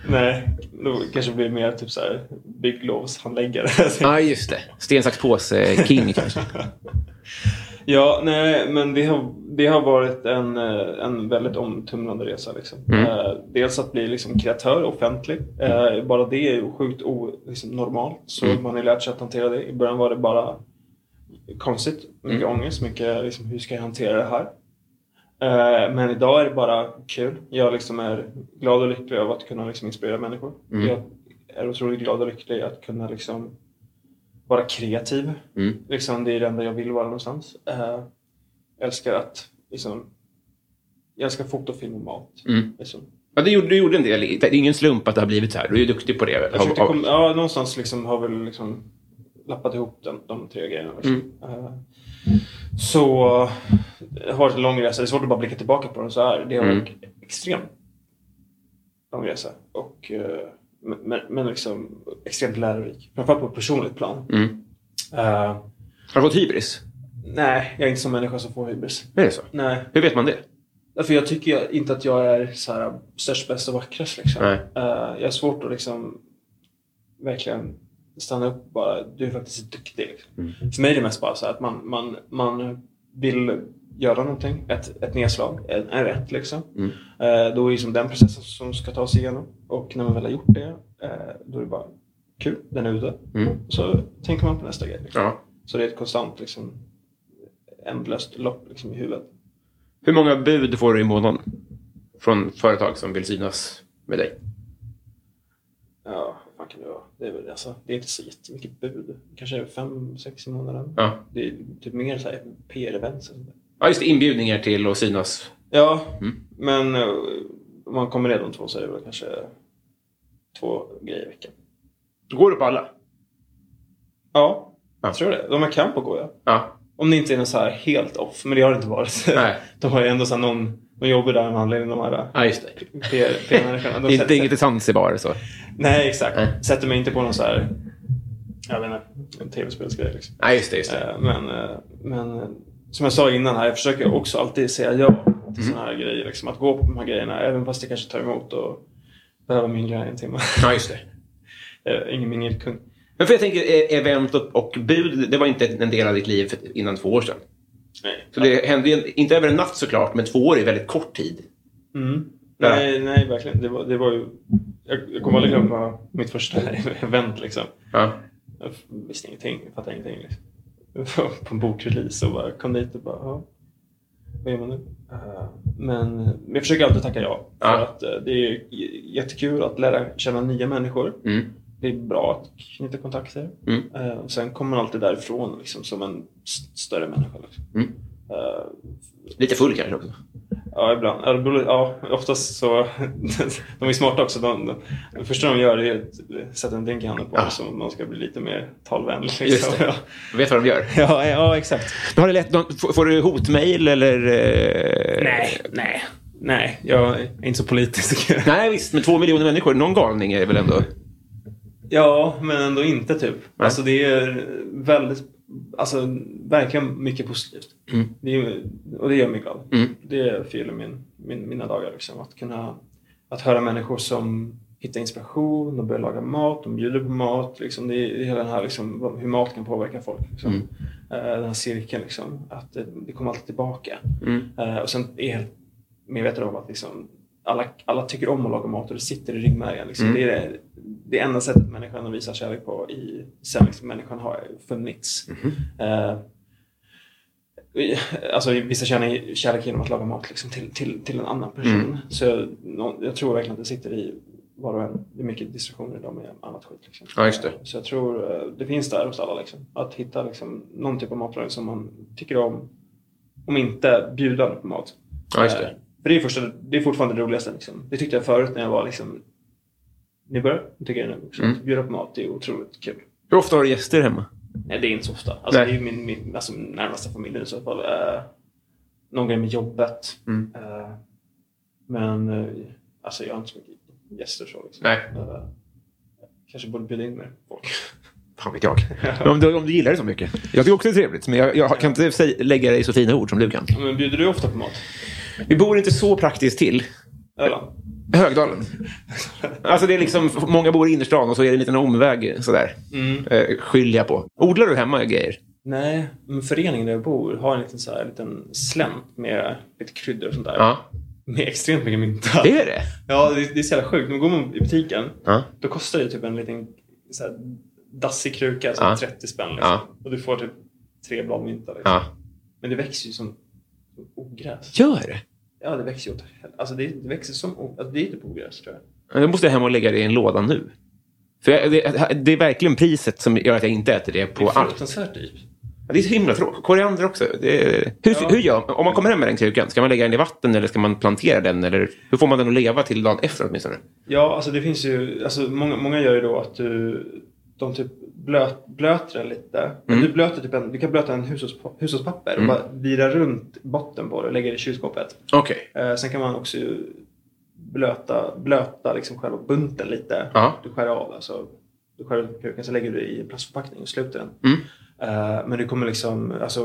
Speaker 2: nej, då kanske det blir mer typ så här bygglovshandläggare.
Speaker 1: Ja, just det. Sten, sax, påse, king kanske.
Speaker 2: ja, nej, men det har, det har varit en, eh, en väldigt omtumlande resa. Liksom. Eh, Dels att bli liksom, kreatör offentlig. Eh, Bara det är ju sjukt o, liksom, normalt. Så man har lärt sig att hantera det. I början var det bara konstigt. Mycket ångest. Mycket liksom, hur ska jag hantera det här? Eh, Men idag är det bara kul. Jag liksom är glad och lycklig över att kunna liksom inspirera människor. Jag är otroligt glad och lycklig att kunna liksom vara kreativ. Liksom, det är det enda jag vill vara någonstans. Eh, Jag älskar att liksom, jag älskar foto, film och mat. Liksom.
Speaker 1: Ja, det gjorde, du gjorde en del. Det är ingen slump att det har blivit så här. Du är ju duktig på det.
Speaker 2: Jag försökte komma, ja, någonstans liksom har väl liksom lappat ihop den, de tre grejerna. Liksom. Eh, Så det har varit en lång resa. Det är svårt att bara blicka tillbaka på den så här. Det har varit extremt lång resa. Och, eh, men- men, men liksom extremt lärorik. Framförallt på ett personligt plan. Eh,
Speaker 1: Har du fått hybris?
Speaker 2: nej, jag är inte som människa som får hybris.
Speaker 1: Är det så?
Speaker 2: Nej.
Speaker 1: Hur vet man det?
Speaker 2: För jag tycker jag, inte att jag är så här, störst, bäst och vackrast. Liksom.
Speaker 1: Nej.
Speaker 2: Eh, jag har svårt att liksom, verkligen stanna upp och bara. Du är faktiskt duktig. Liksom.
Speaker 1: Mm.
Speaker 2: För mig är det mest bara så här att man, man, man vill göra någonting. Ett, ett nedslag, en, en rätt. Liksom.
Speaker 1: Mm.
Speaker 2: Eh, då är det liksom den processen som ska ta sig igenom. Och när man väl har gjort det, eh, då är det bara kul. Den är ute. Och så tänker man på nästa grej. Liksom.
Speaker 1: Mm. Ja.
Speaker 2: Så det är ett konstant, liksom, ändlöst lopp liksom, i huvudet.
Speaker 1: Hur många bud får du i månaden? Från företag som vill synas med dig?
Speaker 2: Ja, vad fan kan det vara? Det är, väl, alltså, det är inte så jättemycket bud. Kanske fem, sex i månaden.
Speaker 1: Ja.
Speaker 2: Det är typ mer så här PR-events. och sånt där.
Speaker 1: Ja, just det, inbjudningar till att synas.
Speaker 2: Ja,
Speaker 1: Mm.
Speaker 2: men eh, om man kommer ner de två så är det väl kanske två grejer i veckan.
Speaker 1: Går du på alla?
Speaker 2: Ja,
Speaker 1: Ja.
Speaker 2: jag tror det. De här campo går jag.
Speaker 1: Ja.
Speaker 2: Om det inte är någon så här helt off, men det har det inte varit.
Speaker 1: Nej.
Speaker 2: De har ju ändå så här någon, de jobbar där med anledning av de här
Speaker 1: Ja, just det.
Speaker 2: PR-människorna.
Speaker 1: Det är inte inget i Zanzibar så.
Speaker 2: Nej, exakt.
Speaker 1: Nej.
Speaker 2: Sätter mig inte på någon så här, jag vet inte, en tv-spelsgrej liksom.
Speaker 1: Nej, just det. Just det.
Speaker 2: Eh, Men, eh, men eh, som jag sa innan här, jag försöker också alltid säga ja till
Speaker 1: Mm.
Speaker 2: såna här grejer. Liksom, att gå på de här grejerna, även fast det kanske tar emot och behöver mingla i en timme.
Speaker 1: Ja, just det.
Speaker 2: Eh, Ingen mingelkung.
Speaker 1: Men för jag tänker eh, event och, och bud, det var inte en del av ditt liv för- innan två år sedan.
Speaker 2: Nej.
Speaker 1: Så det hände ju inte över en natt såklart, men två år är väldigt kort tid.
Speaker 2: Mm.
Speaker 1: Ja.
Speaker 2: Nej, nej, verkligen. Det var, det var ju, jag, jag kommer aldrig glömma mitt första event. Liksom.
Speaker 1: Ja.
Speaker 2: Jag visste ingenting, jag fattade ingenting. Liksom. Jag var på en bokrelease och bara kom dit och bara, ja, vad gör man nu? Eh, Men men jag försöker alltid tacka ja. För
Speaker 1: Ja.
Speaker 2: att eh, det är j- jättekul att lära känna nya människor.
Speaker 1: Mm.
Speaker 2: Det är bra att knyta kontakter.
Speaker 1: Mm.
Speaker 2: Eh, och sen kommer man alltid därifrån liksom, som en s- större människa. Liksom.
Speaker 1: Mm.
Speaker 2: Eh,
Speaker 1: Lite full kanske också.
Speaker 2: Ja, ibland. Ja, det beror- Ja, oftast så... De är smarta också. De, de, det första de gör är att sätta en drink i handen på
Speaker 1: Ja.
Speaker 2: ja. så man ska bli lite mer talvänlig. Liksom.
Speaker 1: Just det.
Speaker 2: Ja.
Speaker 1: Du vet vad de gör.
Speaker 2: Ja, ja, exakt.
Speaker 1: Då har det lätt, de- får får du hotmail eller... eh,
Speaker 2: Nej, nej. Nej, jag är inte så politisk.
Speaker 1: Nej, visst. Men två miljoner människor, någon galning är det väl ändå?
Speaker 2: ja, men ändå inte typ. Alltså det är väldigt, alltså verkligen mycket positivt. Det är, och det gör mig glad. Det fyller min, min, mina dagar liksom. Att kunna, att höra människor som hittar inspiration, de börjar laga mat, de bjuder på mat. Liksom. Det är det är hela den här liksom, vad- hur mat kan påverka folk. Liksom. Eh, Den här cirkeln, liksom. att det, det kommer alltid tillbaka. Eh, Och sen är jag helt medveten om att liksom, alla, alla tycker om att laga mat och det sitter i ryggmärgen. Liksom.
Speaker 1: Mm.
Speaker 2: Det är det, det enda sättet människan visar kärlek på i, sen liksom, människan har funnits.
Speaker 1: Mm-hmm.
Speaker 2: Eh, i- Alltså vissa känner kärlek genom att laga mat liksom, till, till, till en annan person.
Speaker 1: Mm.
Speaker 2: Så jag, nå- jag tror verkligen att det sitter i var och en. Det är mycket distraktioner idag med annat skit. Liksom.
Speaker 1: Ja, just det.
Speaker 2: Så jag tror eh, det finns där hos alla. Liksom. Att hitta liksom, någon typ av matlagning som man tycker om. Om inte bjuda på mat.
Speaker 1: Ja, just det.
Speaker 2: Eh, För det är, första, det är fortfarande det roligaste. Liksom. Det tyckte jag förut när jag var liksom, nybörjare. Jag tycker jag nu också.
Speaker 1: Mm.
Speaker 2: Att bjuda på mat det är otroligt kul.
Speaker 1: Hur ofta har du gäster hemma?
Speaker 2: Nej, det är inte så ofta. Alltså,
Speaker 1: Nej.
Speaker 2: det är ju min, min alltså, min närmaste familj i så fall. Eh, någon grej med jobbet.
Speaker 1: Mm.
Speaker 2: Eh, men eh, alltså, jag har inte så mycket gäster så. Liksom.
Speaker 1: Nej.
Speaker 2: Eh, kanske borde bjuda in mer folk.
Speaker 1: Fan vet jag. Men om, du, om du gillar det så mycket. Jag tycker också det är trevligt, men jag, jag kan inte säg, lägga dig så fina ord som du kan.
Speaker 2: Men bjuder du ofta på mat?
Speaker 1: Vi bor inte så praktiskt till.
Speaker 2: Öland?
Speaker 1: Högdalen. Alltså det är liksom, många bor i innerstan och så är det en liten omväg sådär. Eh, skyller jag på. Odlar du hemma grejer?
Speaker 2: Nej, men föreningen där jag bor har en liten, så här, liten slänt med lite kryddor och sånt där.
Speaker 1: Ja.
Speaker 2: Med extremt mycket mynta.
Speaker 1: Det är det?
Speaker 2: Ja, det, det är så jävla sjukt. Nu går man i butiken,
Speaker 1: Ja.
Speaker 2: då kostar det typ en liten så här, dassig kruka, så
Speaker 1: Ja.
Speaker 2: 30 spänn. Liksom.
Speaker 1: Ja.
Speaker 2: Och du får typ tre blad mynta. Liksom.
Speaker 1: Ja.
Speaker 2: Men det växer ju som som ogräs.
Speaker 1: Gör det?
Speaker 2: Ja, det växer ju åt hel- Alltså det, det växer som o- alltså, det är typ ogräs tror jag.
Speaker 1: Då måste jag hem och lägga det i en låda nu. För jag, det, det är verkligen priset som gör att jag inte äter det
Speaker 2: Det
Speaker 1: på
Speaker 2: är
Speaker 1: allt.
Speaker 2: fruktansvärt dyrt.
Speaker 1: Ja, Det är så himla tråkigt. Koriander också. Det är... hur,
Speaker 2: Ja.
Speaker 1: hur gör Om man kommer hem med den krukan, ska man lägga den i vatten eller ska man plantera den? Eller hur får man den att leva till dagen efter åtminstone?
Speaker 2: Ja, alltså det finns ju, alltså många, många gör ju då att du, de typ blöt, blöter den lite. Men
Speaker 1: Mm.
Speaker 2: Du, blöter typ en, du kan blöta en hushållspa- hushållspapper
Speaker 1: Mm.
Speaker 2: och bara vira runt botten på det och lägga det i kylskåpet.
Speaker 1: Okej.
Speaker 2: Eh, sen kan man också ju blöta, blöta liksom själva bunten lite.
Speaker 1: Ja.
Speaker 2: Du skär av alltså, du skär ut kuken så lägger du i en plastförpackning och sluter den.
Speaker 1: Mm.
Speaker 2: Eh, men du kommer liksom, alltså,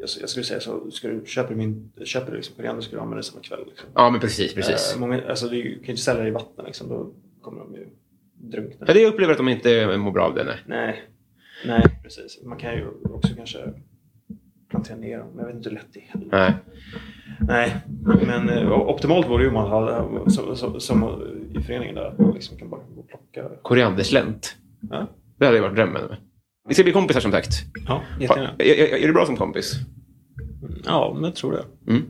Speaker 2: jag, jag skulle säga så, ska du, köper, du min, köper du liksom koriander ska du använda det samma kväll. Liksom.
Speaker 1: Ja, men precis. precis.
Speaker 2: Eh, många, alltså, du kan ju inte sälja det i vatten, liksom, då kommer de ju drunkna.
Speaker 1: Ja, det jag upplever att de inte mår bra av det. nej.
Speaker 2: Nej. Nej, precis. Man kan ju också kanske plantera ner dem, men jag vet inte hur lätt det är. heller.
Speaker 1: Nej.
Speaker 2: Nej, men eh, optimalt vore ju om man hade, som, som, som i föreningen där, att man liksom kan bara gå och plocka.
Speaker 1: Korianderslänt.
Speaker 2: Ja,
Speaker 1: Det hade ju varit drömmen. Vi ska bli kompisar som sagt.
Speaker 2: ja
Speaker 1: Ha,
Speaker 2: jättegärna.
Speaker 1: är, är, är du bra som kompis?
Speaker 2: Ja, men jag tror det.
Speaker 1: Mm.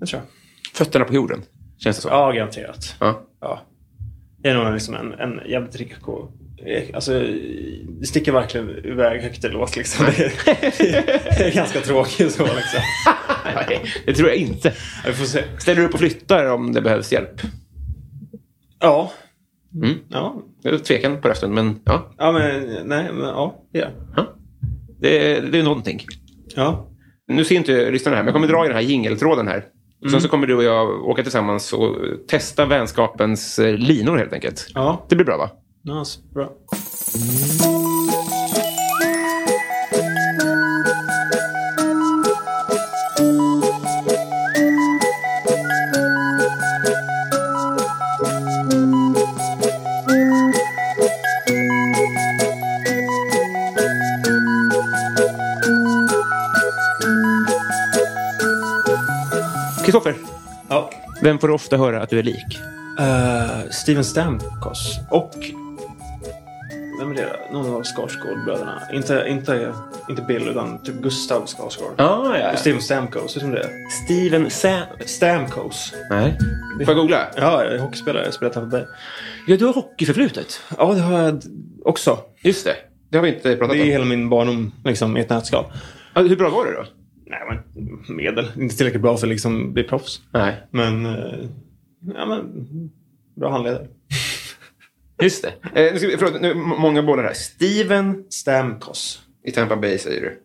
Speaker 2: Det tror jag.
Speaker 1: Fötterna på jorden, känns det som.
Speaker 2: Ja, garanterat.
Speaker 1: Ja.
Speaker 2: Ja. Jag är nog liksom en, en jävligt reko. Alltså, det sticker verkligen iväg högt i lås liksom. Det är, det är ganska tråkigt så liksom.
Speaker 1: Nej, det tror jag inte.
Speaker 2: Ja, Vi får se.
Speaker 1: Ställer du upp och flyttar om det behövs hjälp?
Speaker 2: Ja.
Speaker 1: Mm.
Speaker 2: Ja,
Speaker 1: Jag är tvekan på rösten, men ja.
Speaker 2: ja men nej, men ja. det är jag.
Speaker 1: ja. Det, är- det är någonting.
Speaker 2: Ja.
Speaker 1: Nu ser inte lyssnarna här, men jag kommer dra i den här jingeltråden här. Sen så kommer du och jag åka tillsammans och eh, testa vänskapens eh, linor helt enkelt.
Speaker 2: Ja.
Speaker 1: Det blir bra va?
Speaker 2: Nice. Bra.
Speaker 1: Kristoffer,
Speaker 2: Ja.
Speaker 1: vem får du ofta höra att du är lik?
Speaker 2: Eh, Steven Stamkos och... Vem är det? Någon av Skarsgård-bröderna. Inte, inte, inte Bill, utan typ Gustav Skarsgård.
Speaker 1: Ah, ja,
Speaker 2: Steven Stamkos, vet du vem det är?
Speaker 1: Steven Sam...
Speaker 2: Stamkos.
Speaker 1: Nej. Får jag googla?
Speaker 2: Ja, jag är hockeyspelare. Jag spelar Tampa Bay.
Speaker 1: Ja, du har hockeyförflutet.
Speaker 2: Ja, det har jag d- också.
Speaker 1: Just det. Det har vi inte pratat
Speaker 2: Det är
Speaker 1: om.
Speaker 2: hela min barndom liksom, i ett nötskal.
Speaker 1: Ja, Hur bra var du då?
Speaker 2: Nej, men medel. Inte tillräckligt bra för att liksom, bli proffs.
Speaker 1: Nej.
Speaker 2: Men, eh, ja, men bra handledare.
Speaker 1: Just det. Eh, nu ska vi, förlåt, nu, m- många bollar här. Steven
Speaker 2: Stamkos.
Speaker 1: i Tampa Bay säger du.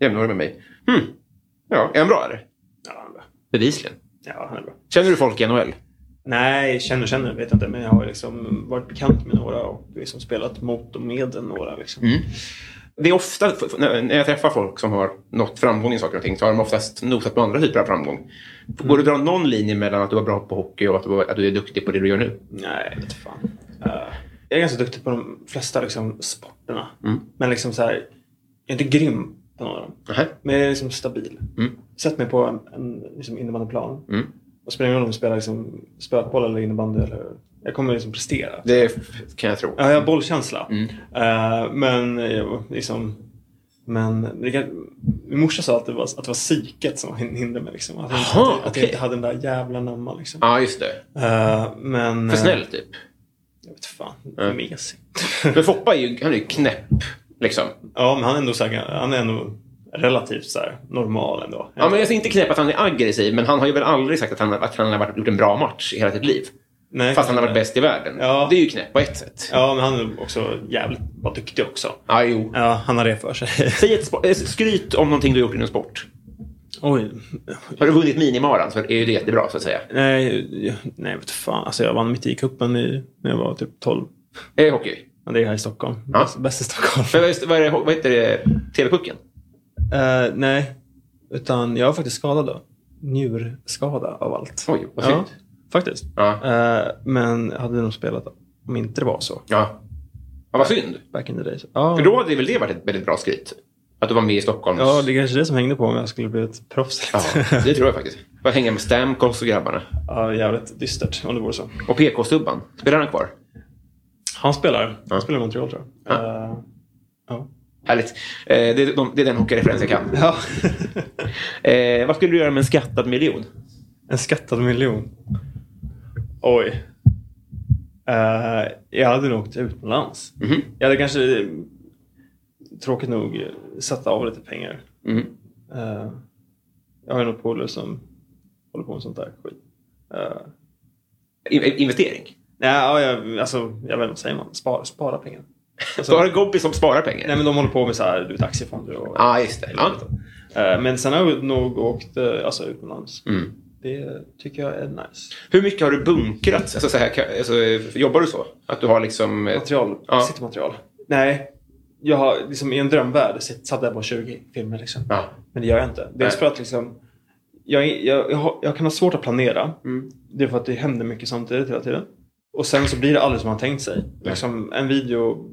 Speaker 1: Jämnårig med mig. Hmm. Ja, är han bra eller?
Speaker 2: Ja, han är bra.
Speaker 1: Bevisligen.
Speaker 2: Ja, han är bra.
Speaker 1: Känner du folk i NHL?
Speaker 2: Nej, känner känner vet jag inte. Men jag har ju liksom varit bekant med några och liksom spelat mot och med några. Liksom.
Speaker 1: Det är ofta, f- f- när när jag träffar folk som har nått framgång i saker och ting, så har de oftast nosat på andra typer av framgång. Går det att dra någon linje mellan att du var bra på hockey och att du, att du är duktig på det du gör nu?
Speaker 2: Nej, jag vet inte fan. Eh, jag är ganska duktig på de flesta liksom, sporterna. Men liksom så här, jag är inte grym på någon av dem.
Speaker 1: Nähä.
Speaker 2: Men jag är liksom stabil. Sätt mig på en, en liksom innebandyplan.
Speaker 1: Mm.
Speaker 2: Och spelar ingen roll om jag spelar liksom, spökboll eller innebandy. Eller, jag kommer liksom prestera.
Speaker 1: Det f- kan jag tro.
Speaker 2: Ja, jag har bollkänsla. Eh, men jag, liksom... Men det kan, min morsa sa att det var, att det var psyket som var hin- hindret mig. Liksom. Att, jag inte-
Speaker 1: Jaha,
Speaker 2: att,
Speaker 1: okej.
Speaker 2: jag inte hade den där jävla namma. Liksom.
Speaker 1: Ja, just det.
Speaker 2: Eh, men...
Speaker 1: För
Speaker 2: eh,
Speaker 1: snäll, typ.
Speaker 2: Jag vet fan.
Speaker 1: Ja.
Speaker 2: Mesig.
Speaker 1: Men Foppa är ju, han är ju knäpp, liksom.
Speaker 2: ja, men han är ändå, så här, han är ändå relativt så här, normal ändå.
Speaker 1: Ja, men jag ser inte knäpp att han är aggressiv, men han har ju väl aldrig sagt att han, att han har varit, gjort en bra match i hela sitt liv.
Speaker 2: Nej,
Speaker 1: Fast han har varit
Speaker 2: kanske
Speaker 1: bäst i världen.
Speaker 2: Ja.
Speaker 1: Det är ju knäpp på ett sätt. Ja,
Speaker 2: Ja, men han är också jävligt bara duktig också.
Speaker 1: jo.
Speaker 2: Ja, han har det för sig.
Speaker 1: Säg ett spo- eh, skryt om någonting du har gjort inom sport.
Speaker 2: Oj.
Speaker 1: Har du vunnit minimaran så är ju det jättebra, så att säga.
Speaker 2: Nej, jag- nej, vet fan. Alltså, jag vann mitt i cupen i- när jag var typ 12.
Speaker 1: Eh, hockey.
Speaker 2: Ja, det är här i Stockholm.
Speaker 1: Ja.
Speaker 2: Bäst- Bäst i Stockholm.
Speaker 1: Men vad, är- vad, är det, vad heter det? TV-pucken?
Speaker 2: Eh, nej, utan jag var faktiskt skadad då. Njurskada av allt.
Speaker 1: Oj, vad
Speaker 2: ja.
Speaker 1: synd.
Speaker 2: faktiskt.
Speaker 1: Ja.
Speaker 2: Eh, men hade nog spelat om inte det var så.
Speaker 1: Ja. ja vad synd.
Speaker 2: Back in the days. Ja,
Speaker 1: För då hade väl det varit ett väldigt bra skryt? Att du var med i Stockholms...
Speaker 2: ja det är kanske det som hängde på om jag skulle bli ett proffs.
Speaker 1: Ja, det tror jag faktiskt. Bara hänga med Stamkos och grabbarna.
Speaker 2: ja, jävligt dystert om det vore så.
Speaker 1: Och PK-stubban. Spelar han kvar?
Speaker 2: Han spelar.
Speaker 1: Ja.
Speaker 2: Han spelar i Montreal tror jag. Eh, ja.
Speaker 1: Härligt. Eh, det, är de, det är den hockeyreferens jag kan.
Speaker 2: ja.
Speaker 1: Eh, vad skulle du göra med en skattad miljon?
Speaker 2: en skattad miljon. Oj. Eh, jag hade nog åkt utomlands.
Speaker 1: Mhm.
Speaker 2: Jag hade kanske eh, tråkigt nog eh, satt av lite pengar.
Speaker 1: Mhm.
Speaker 2: Eh, jag har ju några polare som håller på med sånt där skit. Eh,
Speaker 1: I- i- investering?
Speaker 2: nej, ja, jag, alltså, jag vet inte, vad säger man? Spara, spara pengar. Alltså,
Speaker 1: Så har du en kompis som sparar pengar?
Speaker 2: Nej, men de håller på med så här, du vet, aktiefonder och...
Speaker 1: Ja, just det. Ja.
Speaker 2: Eh, men sen har jag nog åkt eh, alltså, utomlands.
Speaker 1: Mm.
Speaker 2: Det tycker jag är nice.
Speaker 1: Hur mycket har du bunkrat? Alltså, så här, ka- alltså, eh, jobbar du så? Att du har liksom... eh,
Speaker 2: Material,
Speaker 1: Ja.
Speaker 2: sitt material. Nej, jag har, liksom, i en drömvärld sitt- satt jag på 20 filmer. Liksom.
Speaker 1: Ja.
Speaker 2: Men det gör jag inte. Dels
Speaker 1: Nej.
Speaker 2: för att liksom, jag, jag, jag, har, jag kan ha svårt att planera.
Speaker 1: Mm.
Speaker 2: Det är för att det händer mycket samtidigt hela tiden. Och sen så blir det aldrig som man tänkt sig. Liksom, en video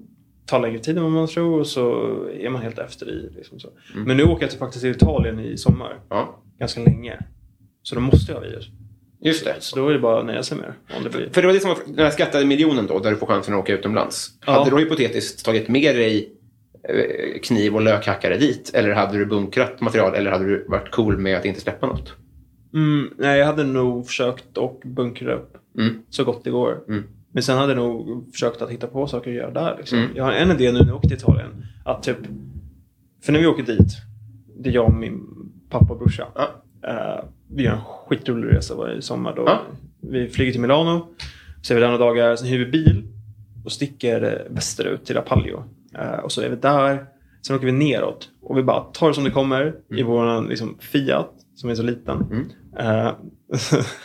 Speaker 2: tar längre tid än vad man tror och så är man helt efter i. Liksom så.
Speaker 1: Mm.
Speaker 2: Men nu åker jag till, faktiskt till Italien i sommar.
Speaker 1: Ja,
Speaker 2: Ganska länge. Så då måste jag ha videos.
Speaker 1: just det.
Speaker 2: Så då är det bara att nöja sig med det. Om det blir.
Speaker 1: För det var det som var den här skattade miljonen då, där du får chansen att åka utomlands.
Speaker 2: Ja.
Speaker 1: Hade du hypotetiskt tagit med dig eh, kniv och lökhackare dit? Eller hade du bunkrat material? Eller hade du varit cool med att inte släppa något?
Speaker 2: Mm, nej, jag hade nog försökt och bunkra upp
Speaker 1: Mm.
Speaker 2: så gott det går.
Speaker 1: Mm.
Speaker 2: Men sen hade jag nog försökt att hitta på saker att göra där. Liksom.
Speaker 1: Mm.
Speaker 2: Jag har en idé nu när jag åker till Italien. Att typ, för när vi åker dit, det är jag och min pappa och brorsa.
Speaker 1: Ja.
Speaker 2: Eh, vi gör en skitrolig resa var- i sommar. Då.
Speaker 1: Ja.
Speaker 2: Vi flyger till Milano, så är vi där några dagar, sen hyr vi bil och sticker eh, västerut till Apalio. Eh, och så är vi där, sen åker vi neråt och vi bara tar det som det kommer i vår liksom, Fiat som är så liten. Eh,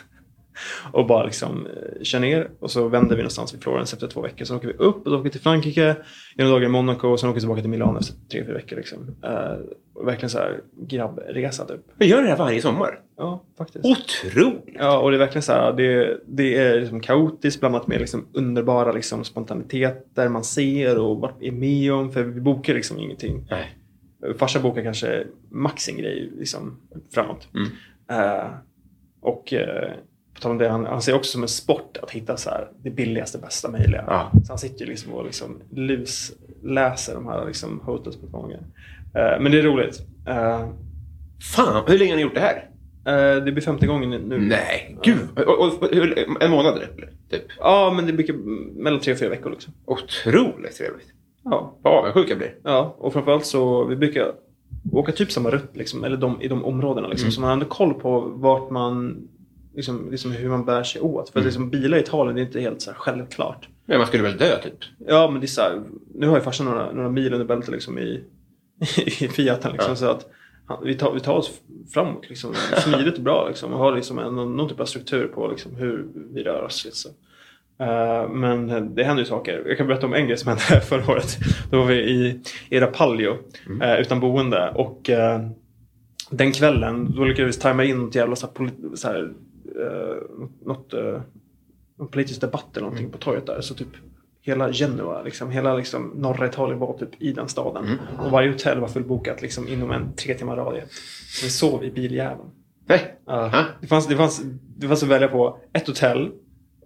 Speaker 2: och bara liksom eh, kör ner och så vänder vi någonstans vid Florens efter två veckor. Sen åker vi upp och så åker vi till Frankrike, gör några dagar i Monaco och sen åker vi tillbaka till Milano efter tre, fyra veckor. Liksom. Eh, och verkligen så här grabbresa typ.
Speaker 1: Vi gör det här varje sommar.
Speaker 2: Ja, faktiskt.
Speaker 1: Otroligt!
Speaker 2: Ja, och det är verkligen så här, det, det är liksom kaotiskt blandat med liksom underbara liksom spontaniteter man ser och vad vi är med om. För vi bokar liksom ingenting.
Speaker 1: Nej.
Speaker 2: Farsan bokar kanske max en grej liksom framåt.
Speaker 1: Mm.
Speaker 2: Eh, och eh, på tal om det, han, han ser också som en sport att hitta så här, det billigaste, bästa möjliga.
Speaker 1: Ja.
Speaker 2: Så han sitter ju liksom och liksom lusläser de här liksom hotelsbetonggerna. Eh, men det är roligt. Eh,
Speaker 1: Fan, hur länge har ni gjort det här?
Speaker 2: eh, det blir femte gången nu.
Speaker 1: Nej, gud. Och, och, hur, en månad eller? Typ.
Speaker 2: Ja, men det brukar mellan tre och fyra veckor. Liksom.
Speaker 1: Otroligt trevligt.
Speaker 2: Ja.
Speaker 1: Vad avundsjuk jag blir.
Speaker 2: ja, och framförallt så vi brukar åka typ samma rutt, liksom, eller de, i de områdena. Liksom, Så man har ändå koll på vart man, liksom, liksom hur man bär sig åt. För liksom, bilar i Italien det är inte helt så här självklart.
Speaker 1: Men man skulle väl dö typ?
Speaker 2: Ja, men det är så här, nu har ju farsan några, några mil under bältet liksom, i, i Fiaten. Liksom,
Speaker 1: Ja.
Speaker 2: Så att han, vi, tar, vi tar oss framåt liksom, smidigt och bra. Liksom, och har liksom en, någon typ av struktur på liksom, hur vi rör oss. Liksom. Eh, men det händer ju saker. Jag kan berätta om en grej som hände här förra året. Då var vi i Era Palio eh, utan boende. Och eh, den kvällen då lyckades vi tajma in något jävla så här, poli- så här, eh, något, eh, någon politisk debatt eller någonting på torget där. Så typ hela Genua, liksom, hela liksom, norra Italien var typ i den staden. Och varje hotell var fullbokat liksom, inom en tre timmar radie. Så vi sov i biljäveln.
Speaker 1: Nej.
Speaker 2: Ja.
Speaker 1: Ja.
Speaker 2: Det, fanns, det, fanns, det fanns att välja på ett hotell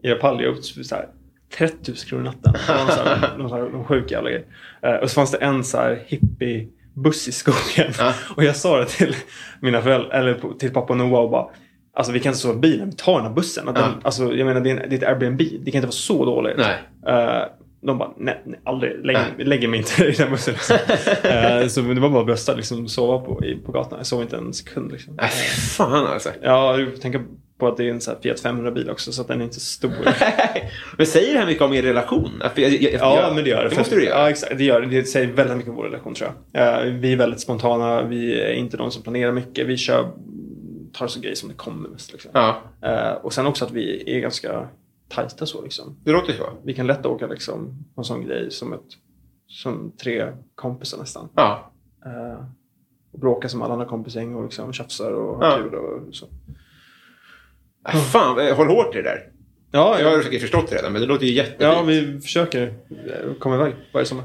Speaker 2: i Rapalje upp så här, 30 000 kronor natten. Det var någon så här- någon så här- någon sjuk jävla grej. Eh, och så fanns det en så här hippie buss i skogen.
Speaker 1: Ja.
Speaker 2: Och jag sa det till mina föräldrar, eller på- till pappa och Noah och bara Alltså vi kan inte sova i bilen, vi tar den här bussen. Att den,
Speaker 1: Ja.
Speaker 2: alltså, jag menar det är, en, det är ett Airbnb, det kan inte vara så dåligt.
Speaker 1: Nej.
Speaker 2: Eh, de bara, nej, nej aldrig. Lägg,
Speaker 1: Nej.
Speaker 2: lägger mig inte i den bussen. Liksom. Eh, så det var bara att brösta liksom, sova på, i, på gatan. Jag sov inte en sekund. Liksom.
Speaker 1: Nej, fy fan alltså.
Speaker 2: Ja, du får tänka på att det är en sån här Fiat 500-bil också, så att den är inte så stor.
Speaker 1: Men säger det här mycket om er relation? Att jag, jag, jag,
Speaker 2: Ja,
Speaker 1: jag-
Speaker 2: men det gör det.
Speaker 1: Det måste du göra.
Speaker 2: Ja, exakt. Det, gör det. det säger väldigt mycket om vår relation tror jag. Eh, Vi är väldigt spontana. Vi är inte de som planerar mycket. Vi kör, tar så grejer som det kommer mest. Liksom.
Speaker 1: Ja,
Speaker 2: Eh, Och sen också att vi är ganska tajta så. Liksom.
Speaker 1: det låter så.
Speaker 2: Vi kan lätt åka liksom, på en sån grej som, ett, som tre kompisar nästan.
Speaker 1: Ja.
Speaker 2: Eh, Och bråka som alla andra kompisgäng och liksom tjafsar och
Speaker 1: Ja.
Speaker 2: har kul. Och så.
Speaker 1: Ah, Fan, eh, håll hårt i det där.
Speaker 2: Ja,
Speaker 1: Jag har
Speaker 2: ja,
Speaker 1: säkert förstått det redan, men det låter ju jättefint.
Speaker 2: ja, vi försöker eh, komma iväg varje sommar.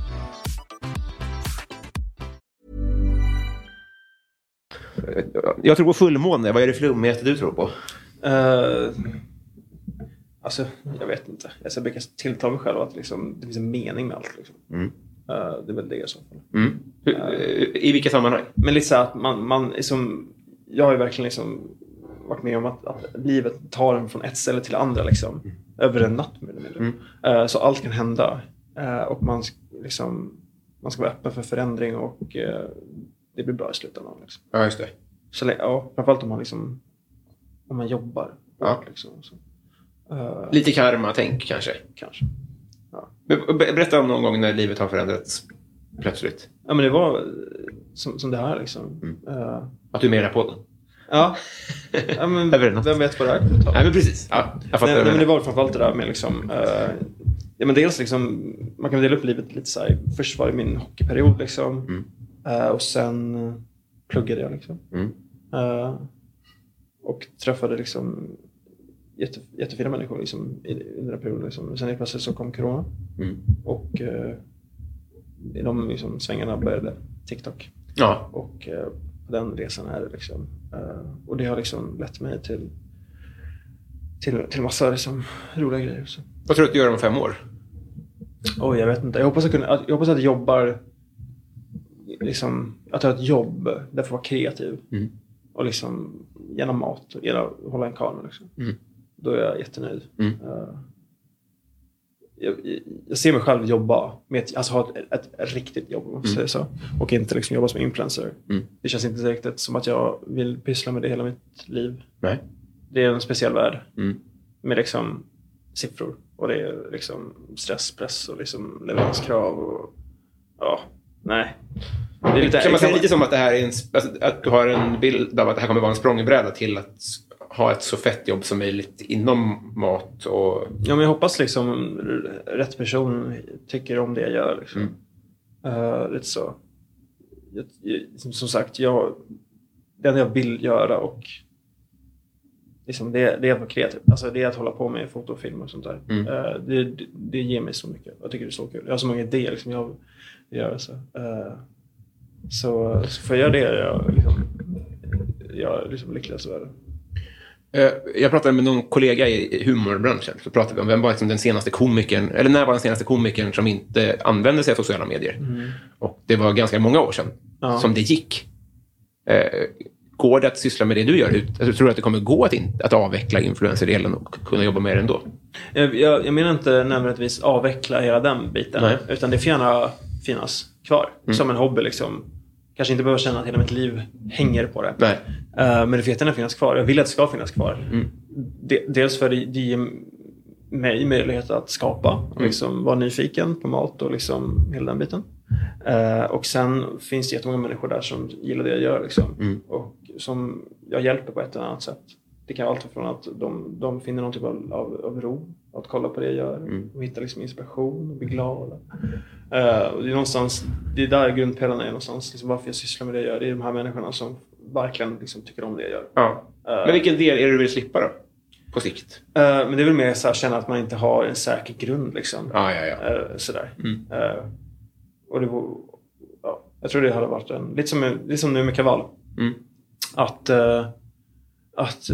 Speaker 1: Jag tror på fullmåne. Vad är det flummigaste du tror på?
Speaker 2: Eh, alltså, jag vet inte. Jag ska brukar tillta mig själv att liksom, det finns en mening med allt. Liksom. Eh, det är väl det i så fall.
Speaker 1: Hur, Eh, I vilka sammanhang?
Speaker 2: Men lite så här att man, man liksom, jag har ju verkligen liksom varit med om att, att livet tar en från ett ställe till andra. Liksom, Över en natt mer eller mindre. Eh, så allt kan hända. Eh, och man, sk- liksom, man ska vara öppen för förändring och eh, det blir bra i slutändan. Liksom.
Speaker 1: Ja, just det.
Speaker 2: Så, lä- ja, framförallt om man, liksom, om man jobbar.
Speaker 1: Ja.
Speaker 2: Liksom, så,
Speaker 1: Lite karma-tänk kanske.
Speaker 2: kanske.
Speaker 1: Be- be- Berätta om någon gång när livet har förändrats plötsligt.
Speaker 2: Ja, men det var eh, som, som det här liksom.
Speaker 1: Mm.
Speaker 2: Eh,
Speaker 1: Att du är med i den här podden.
Speaker 2: ja. ja men,
Speaker 1: Över en natt.
Speaker 2: vem vet vad det här kommer ta.
Speaker 1: Nej, men precis. Ja, jag fattar. vad du
Speaker 2: Nej, nej, men det
Speaker 1: menar.
Speaker 2: var väl framförallt det där med liksom, eh, ja, men dels liksom, man kan dela upp livet lite så här. Först var det min hockeyperiod liksom. Eh, och sen pluggade jag liksom.
Speaker 1: Mm.
Speaker 2: Eh, och träffade liksom jätte, jättefina människor liksom, i, i den här perioden. Liksom. Sen helt plötsligt så kom corona.
Speaker 1: Mm.
Speaker 2: Och eh, i de liksom, svängarna började TikTok.
Speaker 1: Ja.
Speaker 2: Och eh, på den resan är det liksom. Eh, och det har liksom lett mig till, till, till massa liksom, roliga grejer. Så.
Speaker 1: Vad tror du att du gör om fem år?
Speaker 2: Oj, jag vet inte. Jag hoppas att, kunna, att- jag, hoppas att jag jobbar, liksom, att jag har ett jobb, därför vara kreativ. Och liksom gärna mat, och gärna hålla en kamera. Liksom.
Speaker 1: Mm.
Speaker 2: Då är jag jättenöjd. Eh, jag, jag ser mig själv jobba, med ett, alltså ha ett, ett riktigt jobb om
Speaker 1: Mm.
Speaker 2: man säger så. Och inte liksom jobba som influencer. Det känns inte direkt som att jag vill pyssla med det hela mitt liv.
Speaker 1: Nej.
Speaker 2: Det är en speciell värld
Speaker 1: Mm.
Speaker 2: med liksom siffror och det är liksom stress, press och liksom leveranskrav. Och, ja, nej. Det är lite,
Speaker 1: kan man säga lite som att det här är en, sp- alltså, att du har en bild av att det här kommer vara en språngbräda till att s- ha ett så fett jobb som möjligt inom mat och...
Speaker 2: Ja, men jag hoppas liksom r- rätt person tycker om det jag gör. Liksom. Eh, lite så. Jag, jag, liksom, som, som sagt, jag, det enda jag vill göra och liksom det, det är att vara kreativ. Alltså det är att hålla på med foto och film och sånt där. Eh, det, det, det ger mig så mycket. Jag tycker det är så kul. Jag har så många idéer. Liksom, jag vill göra så. Eh, så, så får jag göra det, jag, liksom, jag är liksom lyckligast i världen.
Speaker 1: Eh, Jag pratade med någon kollega i i humorbranschen. Så pratade vi om vem var liksom den senaste komikern, eller när var den senaste komikern som inte använde sig av sociala medier? Och det var ganska många år sedan
Speaker 2: Mm. Ja.
Speaker 1: som det gick. Eh, Går det att syssla med det du gör? Ut- Alltså, tror du att det kommer gå att, in, att avveckla influencerdelen och k- kunna jobba med det ändå?
Speaker 2: Jag, jag, jag menar inte nödvändigtvis avveckla hela den biten.
Speaker 1: Nej. Mm.
Speaker 2: Utan det får gärna finnas kvar som en hobby. Liksom. Kanske inte behöver känna att hela mitt liv hänger på det.
Speaker 1: Nej. Mm.
Speaker 2: Eh, men det får jättegärna finnas kvar. Jag vill att det ska finnas kvar. De, dels för det, det ger mig möjlighet att skapa och liksom vara nyfiken på mat och liksom hela den biten. Eh, och sen finns det jättemånga människor där som gillar det jag gör liksom, och som jag hjälper på ett eller annat sätt. Det kan vara allt från att de, de finner någon typ av, av, av ro att kolla på det jag gör. De hittar liksom inspiration och blir glada. Eh, och det, är någonstans, det är där grundpelarna är någonstans. Liksom varför jag sysslar med det jag gör. Det är de här människorna som verkligen liksom tycker om det jag gör.
Speaker 1: Ja. Men vilken del är det du vill slippa då? På sikt?
Speaker 2: Eh, men det är väl mer så här, känna att man inte har en säker grund. Liksom.
Speaker 1: Ah, Ja, ja, ja.
Speaker 2: Eh, sådär. Eh, och det var, Mm. ja, jag tror det hade varit en, lite som, lite som nu med Kaval.
Speaker 1: Mm.
Speaker 2: Att eh, att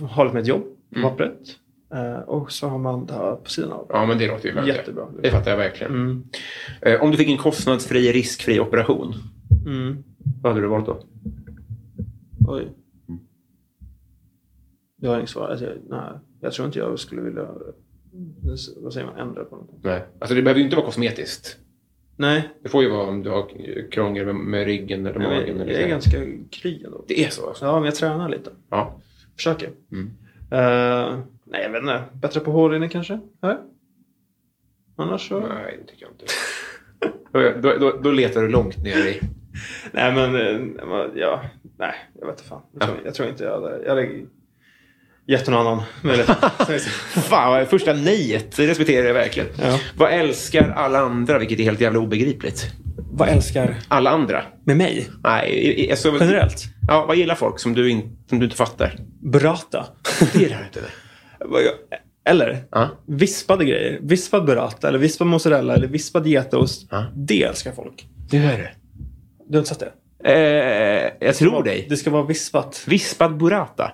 Speaker 2: eh, hålla med ett jobb på pappret. Eh, och så har man det här på sidan av.
Speaker 1: Ja, men det låter ju verkligen.
Speaker 2: Jättebra.
Speaker 1: Det fattar jag verkligen.
Speaker 2: Mm.
Speaker 1: Eh, Om du fick en kostnadsfri, riskfri operation,
Speaker 2: Mm.
Speaker 1: vad hade du valt då?
Speaker 2: Oj. Jag har inget svar. Alltså, jag, nej, jag tror inte jag skulle vilja eh, vad säger man, ändra på någonting.
Speaker 1: Nej. Alltså, det behöver ju inte vara kosmetiskt.
Speaker 2: Nej,
Speaker 1: Det får ju vara om du har krångel med, med ryggen eller
Speaker 2: jag,
Speaker 1: magen.
Speaker 2: jag
Speaker 1: Eller
Speaker 2: är
Speaker 1: sådär.
Speaker 2: ganska kry ändå.
Speaker 1: Det är så alltså?
Speaker 2: Ja, men jag tränar lite.
Speaker 1: Ja.
Speaker 2: Försöker.
Speaker 1: Mm.
Speaker 2: Eh, nej, jag vet inte. Bättre på hårlinjen kanske? Här? Annars så...
Speaker 1: Nej, det tycker jag inte. då, då, då, då letar du långt ner i...
Speaker 2: Nej, men eh, man- ja, nej, jag vet inte fan. Jag tror, jag tror inte jag hade, jag hade gett någon annan möjlighet.
Speaker 1: Fan, vad- första nejet. Det respekterar jag verkligen.
Speaker 2: Ja.
Speaker 1: Vad älskar alla andra, vilket är helt jävla obegripligt?
Speaker 2: Vad älskar
Speaker 1: Alla andra?
Speaker 2: med mig?
Speaker 1: Nej, i- i- alltså,
Speaker 2: Generellt?
Speaker 1: Ja, vad gillar folk som du, in, som du inte fattar?
Speaker 2: Burrata.
Speaker 1: Det gillar du inte.
Speaker 2: Vad jag- Eller
Speaker 1: Ja.
Speaker 2: vispade grejer. Vispad burrata eller vispad mozzarella eller vispad getost.
Speaker 1: Ja.
Speaker 2: Det älskar folk.
Speaker 1: Det gör du.
Speaker 2: Du har inte sett det?
Speaker 1: Eh, jag tror dig.
Speaker 2: Det ska vara vispat.
Speaker 1: Vispad burrata.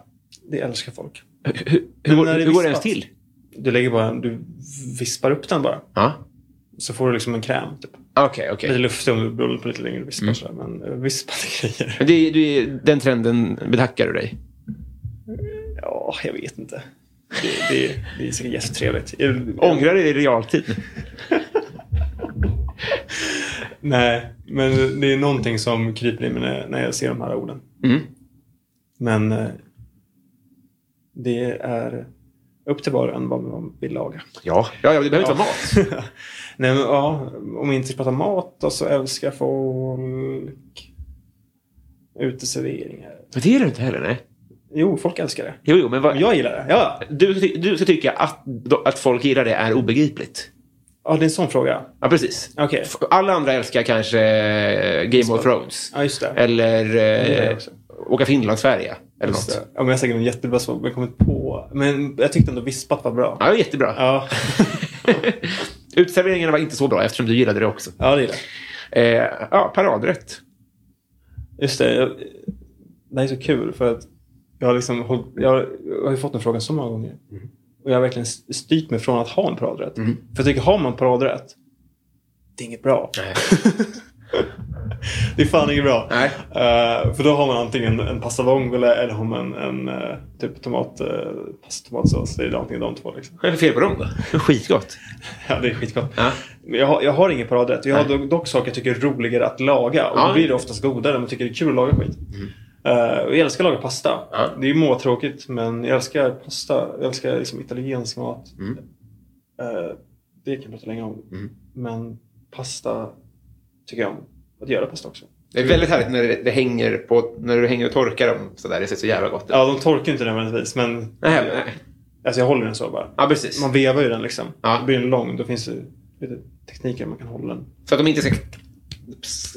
Speaker 2: Det älskar folk.
Speaker 1: Hur, hur, hur, går-
Speaker 2: när det
Speaker 1: hur går det ens
Speaker 2: vispas.
Speaker 1: till?
Speaker 2: Du lägger bara, du vispar upp den bara.
Speaker 1: Ja.
Speaker 2: Så får du liksom en kräm. Typ.
Speaker 1: Okej, okej.
Speaker 2: Lite luftig om du beroende på lite längre vispar.
Speaker 1: Mm.
Speaker 2: sådär, Men eh, vispade grejer.
Speaker 1: Men Det, det, den trenden betackar du dig?
Speaker 2: Ja, jag vet inte. Det, det, det är säkert jättetrevligt.
Speaker 1: Ångrar du dig i realtid?
Speaker 2: Nej, men det är någonting som kryper i mig när, när jag ser de här orden.
Speaker 1: Mm.
Speaker 2: Men eh, det är upp till var och en vad man vill laga.
Speaker 1: Ja. ja, ja det behöver inte vara mat.
Speaker 2: Nej, men, ja, om vi inte pratar mat då, så älskar folk uteserveringar.
Speaker 1: Men det gillar du inte heller, nej.
Speaker 2: Jo, folk älskar det.
Speaker 1: Jo, jo, men vad,
Speaker 2: Jag gillar det. Ja,
Speaker 1: Du, ty- du ska tycka att, att folk gillar det är obegripligt.
Speaker 2: ja det är en sån fråga.
Speaker 1: Ja, precis.
Speaker 2: Okej.
Speaker 1: F- Alla andra älskar kanske eh, Game of Thrones.
Speaker 2: Ja, just det.
Speaker 1: Eller
Speaker 2: gör jag
Speaker 1: eh,
Speaker 2: också.
Speaker 1: åka Finland-Sverige. Eller
Speaker 2: Just det.
Speaker 1: något.
Speaker 2: Ja, men jag har säkert en jättebra svar, men jag kommer inte på. Men jag tyckte ändå vispat var bra.
Speaker 1: Ja, jättebra.
Speaker 2: Ja,
Speaker 1: Utserveringarna var inte så bra eftersom du gillade det också.
Speaker 2: ja det gillar jag.
Speaker 1: Eh, ja, paradrätt.
Speaker 2: Just det. Jag, det här är så kul för att jag har, liksom, håll- jag har, jag har ju fått den frågan så många gånger. Och jag har verkligen st- styrt mig från att ha en paradrätt. För jag tycker, har man paradrätt, det är inget bra. det är fan inget bra.
Speaker 1: Nej.
Speaker 2: Eh, för då har man antingen en pasta vongole eller har man en eh, typ tomat, uh, pasta tomatsås. Det är antingen de två. Liksom.
Speaker 1: Vad är det fel på dem då? Skitgott.
Speaker 2: Ja, det är skitgott.
Speaker 1: Ja.
Speaker 2: Men jag, har- jag har ingen paradrätt. Jag har dock, dock saker jag tycker är roligare att laga. Och
Speaker 1: Ja. Mm.
Speaker 2: då blir det oftast godare. Man tycker det är kul att laga skit. Eh, och jag älskar att laga pasta.
Speaker 1: Ja.
Speaker 2: Det är ju måtråkigt, men jag älskar pasta. Jag älskar liksom italiensk mat.
Speaker 1: Mm.
Speaker 2: Eh, det kan jag prata länge om. Men pasta tycker jag om. Att göra pasta också.
Speaker 1: Det är väldigt härligt när det, det hänger på, när du hänger och torkar dem sådär. Det ser så jävla gott ut.
Speaker 2: Ja, de torkar inte nödvändigtvis, men
Speaker 1: Nej, nej.
Speaker 2: alltså, jag håller den så bara.
Speaker 1: Ja, precis.
Speaker 2: Man vevar ju den liksom.
Speaker 1: Ja.
Speaker 2: Då blir den lång. Då finns det lite tekniker man kan hålla den.
Speaker 1: Så att de inte ska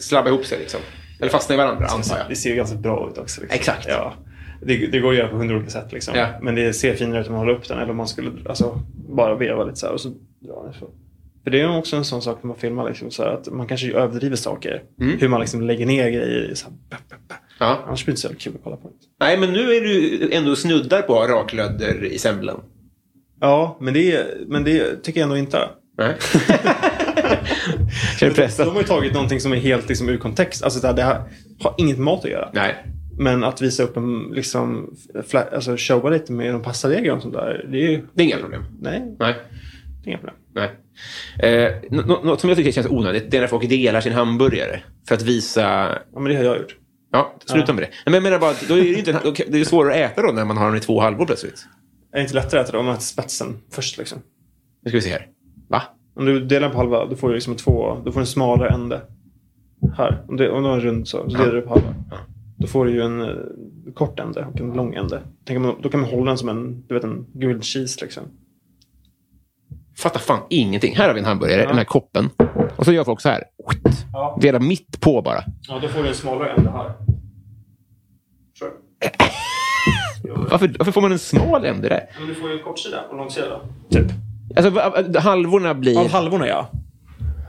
Speaker 1: slabba ihop sig liksom. Eller fastna i varandra, antar jag.
Speaker 2: Det ser ju ganska bra ut också. Liksom.
Speaker 1: Exakt.
Speaker 2: Ja. Det, det går att göra på hundra olika sätt. Liksom.
Speaker 1: Ja.
Speaker 2: Men det ser finare ut om man håller upp den eller om man skulle alltså, bara veva lite så här och så dra den. Så. För det är ju också en sån sak när man filmar, liksom, så här, att man kanske överdriver saker. Hur man liksom lägger ner grejer. Så här, ba, ba, ba.
Speaker 1: Mm. Ja.
Speaker 2: Annars blir det inte så jävla kul att kolla på.
Speaker 1: Nej, men nu är du ändå snuddar på raklödder i semlan.
Speaker 2: Ja, men det, men det tycker jag ändå inte.
Speaker 1: Nej. Känner du
Speaker 2: De
Speaker 1: pressen?
Speaker 2: har ju tagit någonting som är helt liksom, ur kontext. Alltså, det, här, det här har inget med mat att göra.
Speaker 1: Nej.
Speaker 2: Men att visa upp en, liksom, fla- alltså, showa lite med de passade regler och sånt där. Det är ju,
Speaker 1: Det är inga problem.
Speaker 2: nej,
Speaker 1: Nej.
Speaker 2: Inga problem.
Speaker 1: Nej. Eh, nå- nå- något som jag tycker känns onödigt, det är när folk delar sin hamburgare för att visa...
Speaker 2: Ja, men det har jag gjort.
Speaker 1: Ja, sluta med det. Nej, Men jag menar bara att då är det ju inte en, då, kan- det är ju svårare att äta då när man har den i två halvor plötsligt.
Speaker 2: Är det inte lättare att äta det om man äter spetsen först? Liksom?
Speaker 1: Nu ska vi se här. Va?
Speaker 2: Om du delar på halva, då får du liksom två, då får du en smalare ände. Här. Om du, om du har en rund så, så delar du på halva. Då får du ju en eh, kort ände och en lång ände. Tänk om, man- då kan man hålla den som en, du vet, en grilled cheese. Liksom.
Speaker 1: Fattar fan ingenting. Här har vi en hamburgare, den här koppen. Och så gör folk så här. Delar mitt på bara.
Speaker 2: Ja, då får du en smalare ände här. Sure.
Speaker 1: Varför, varför får man en smal ände där?
Speaker 2: Men du får ju en kortsida och en långsida. Typ.
Speaker 1: Alltså, va- va- halvorna blir...
Speaker 2: Av halvorna, ja.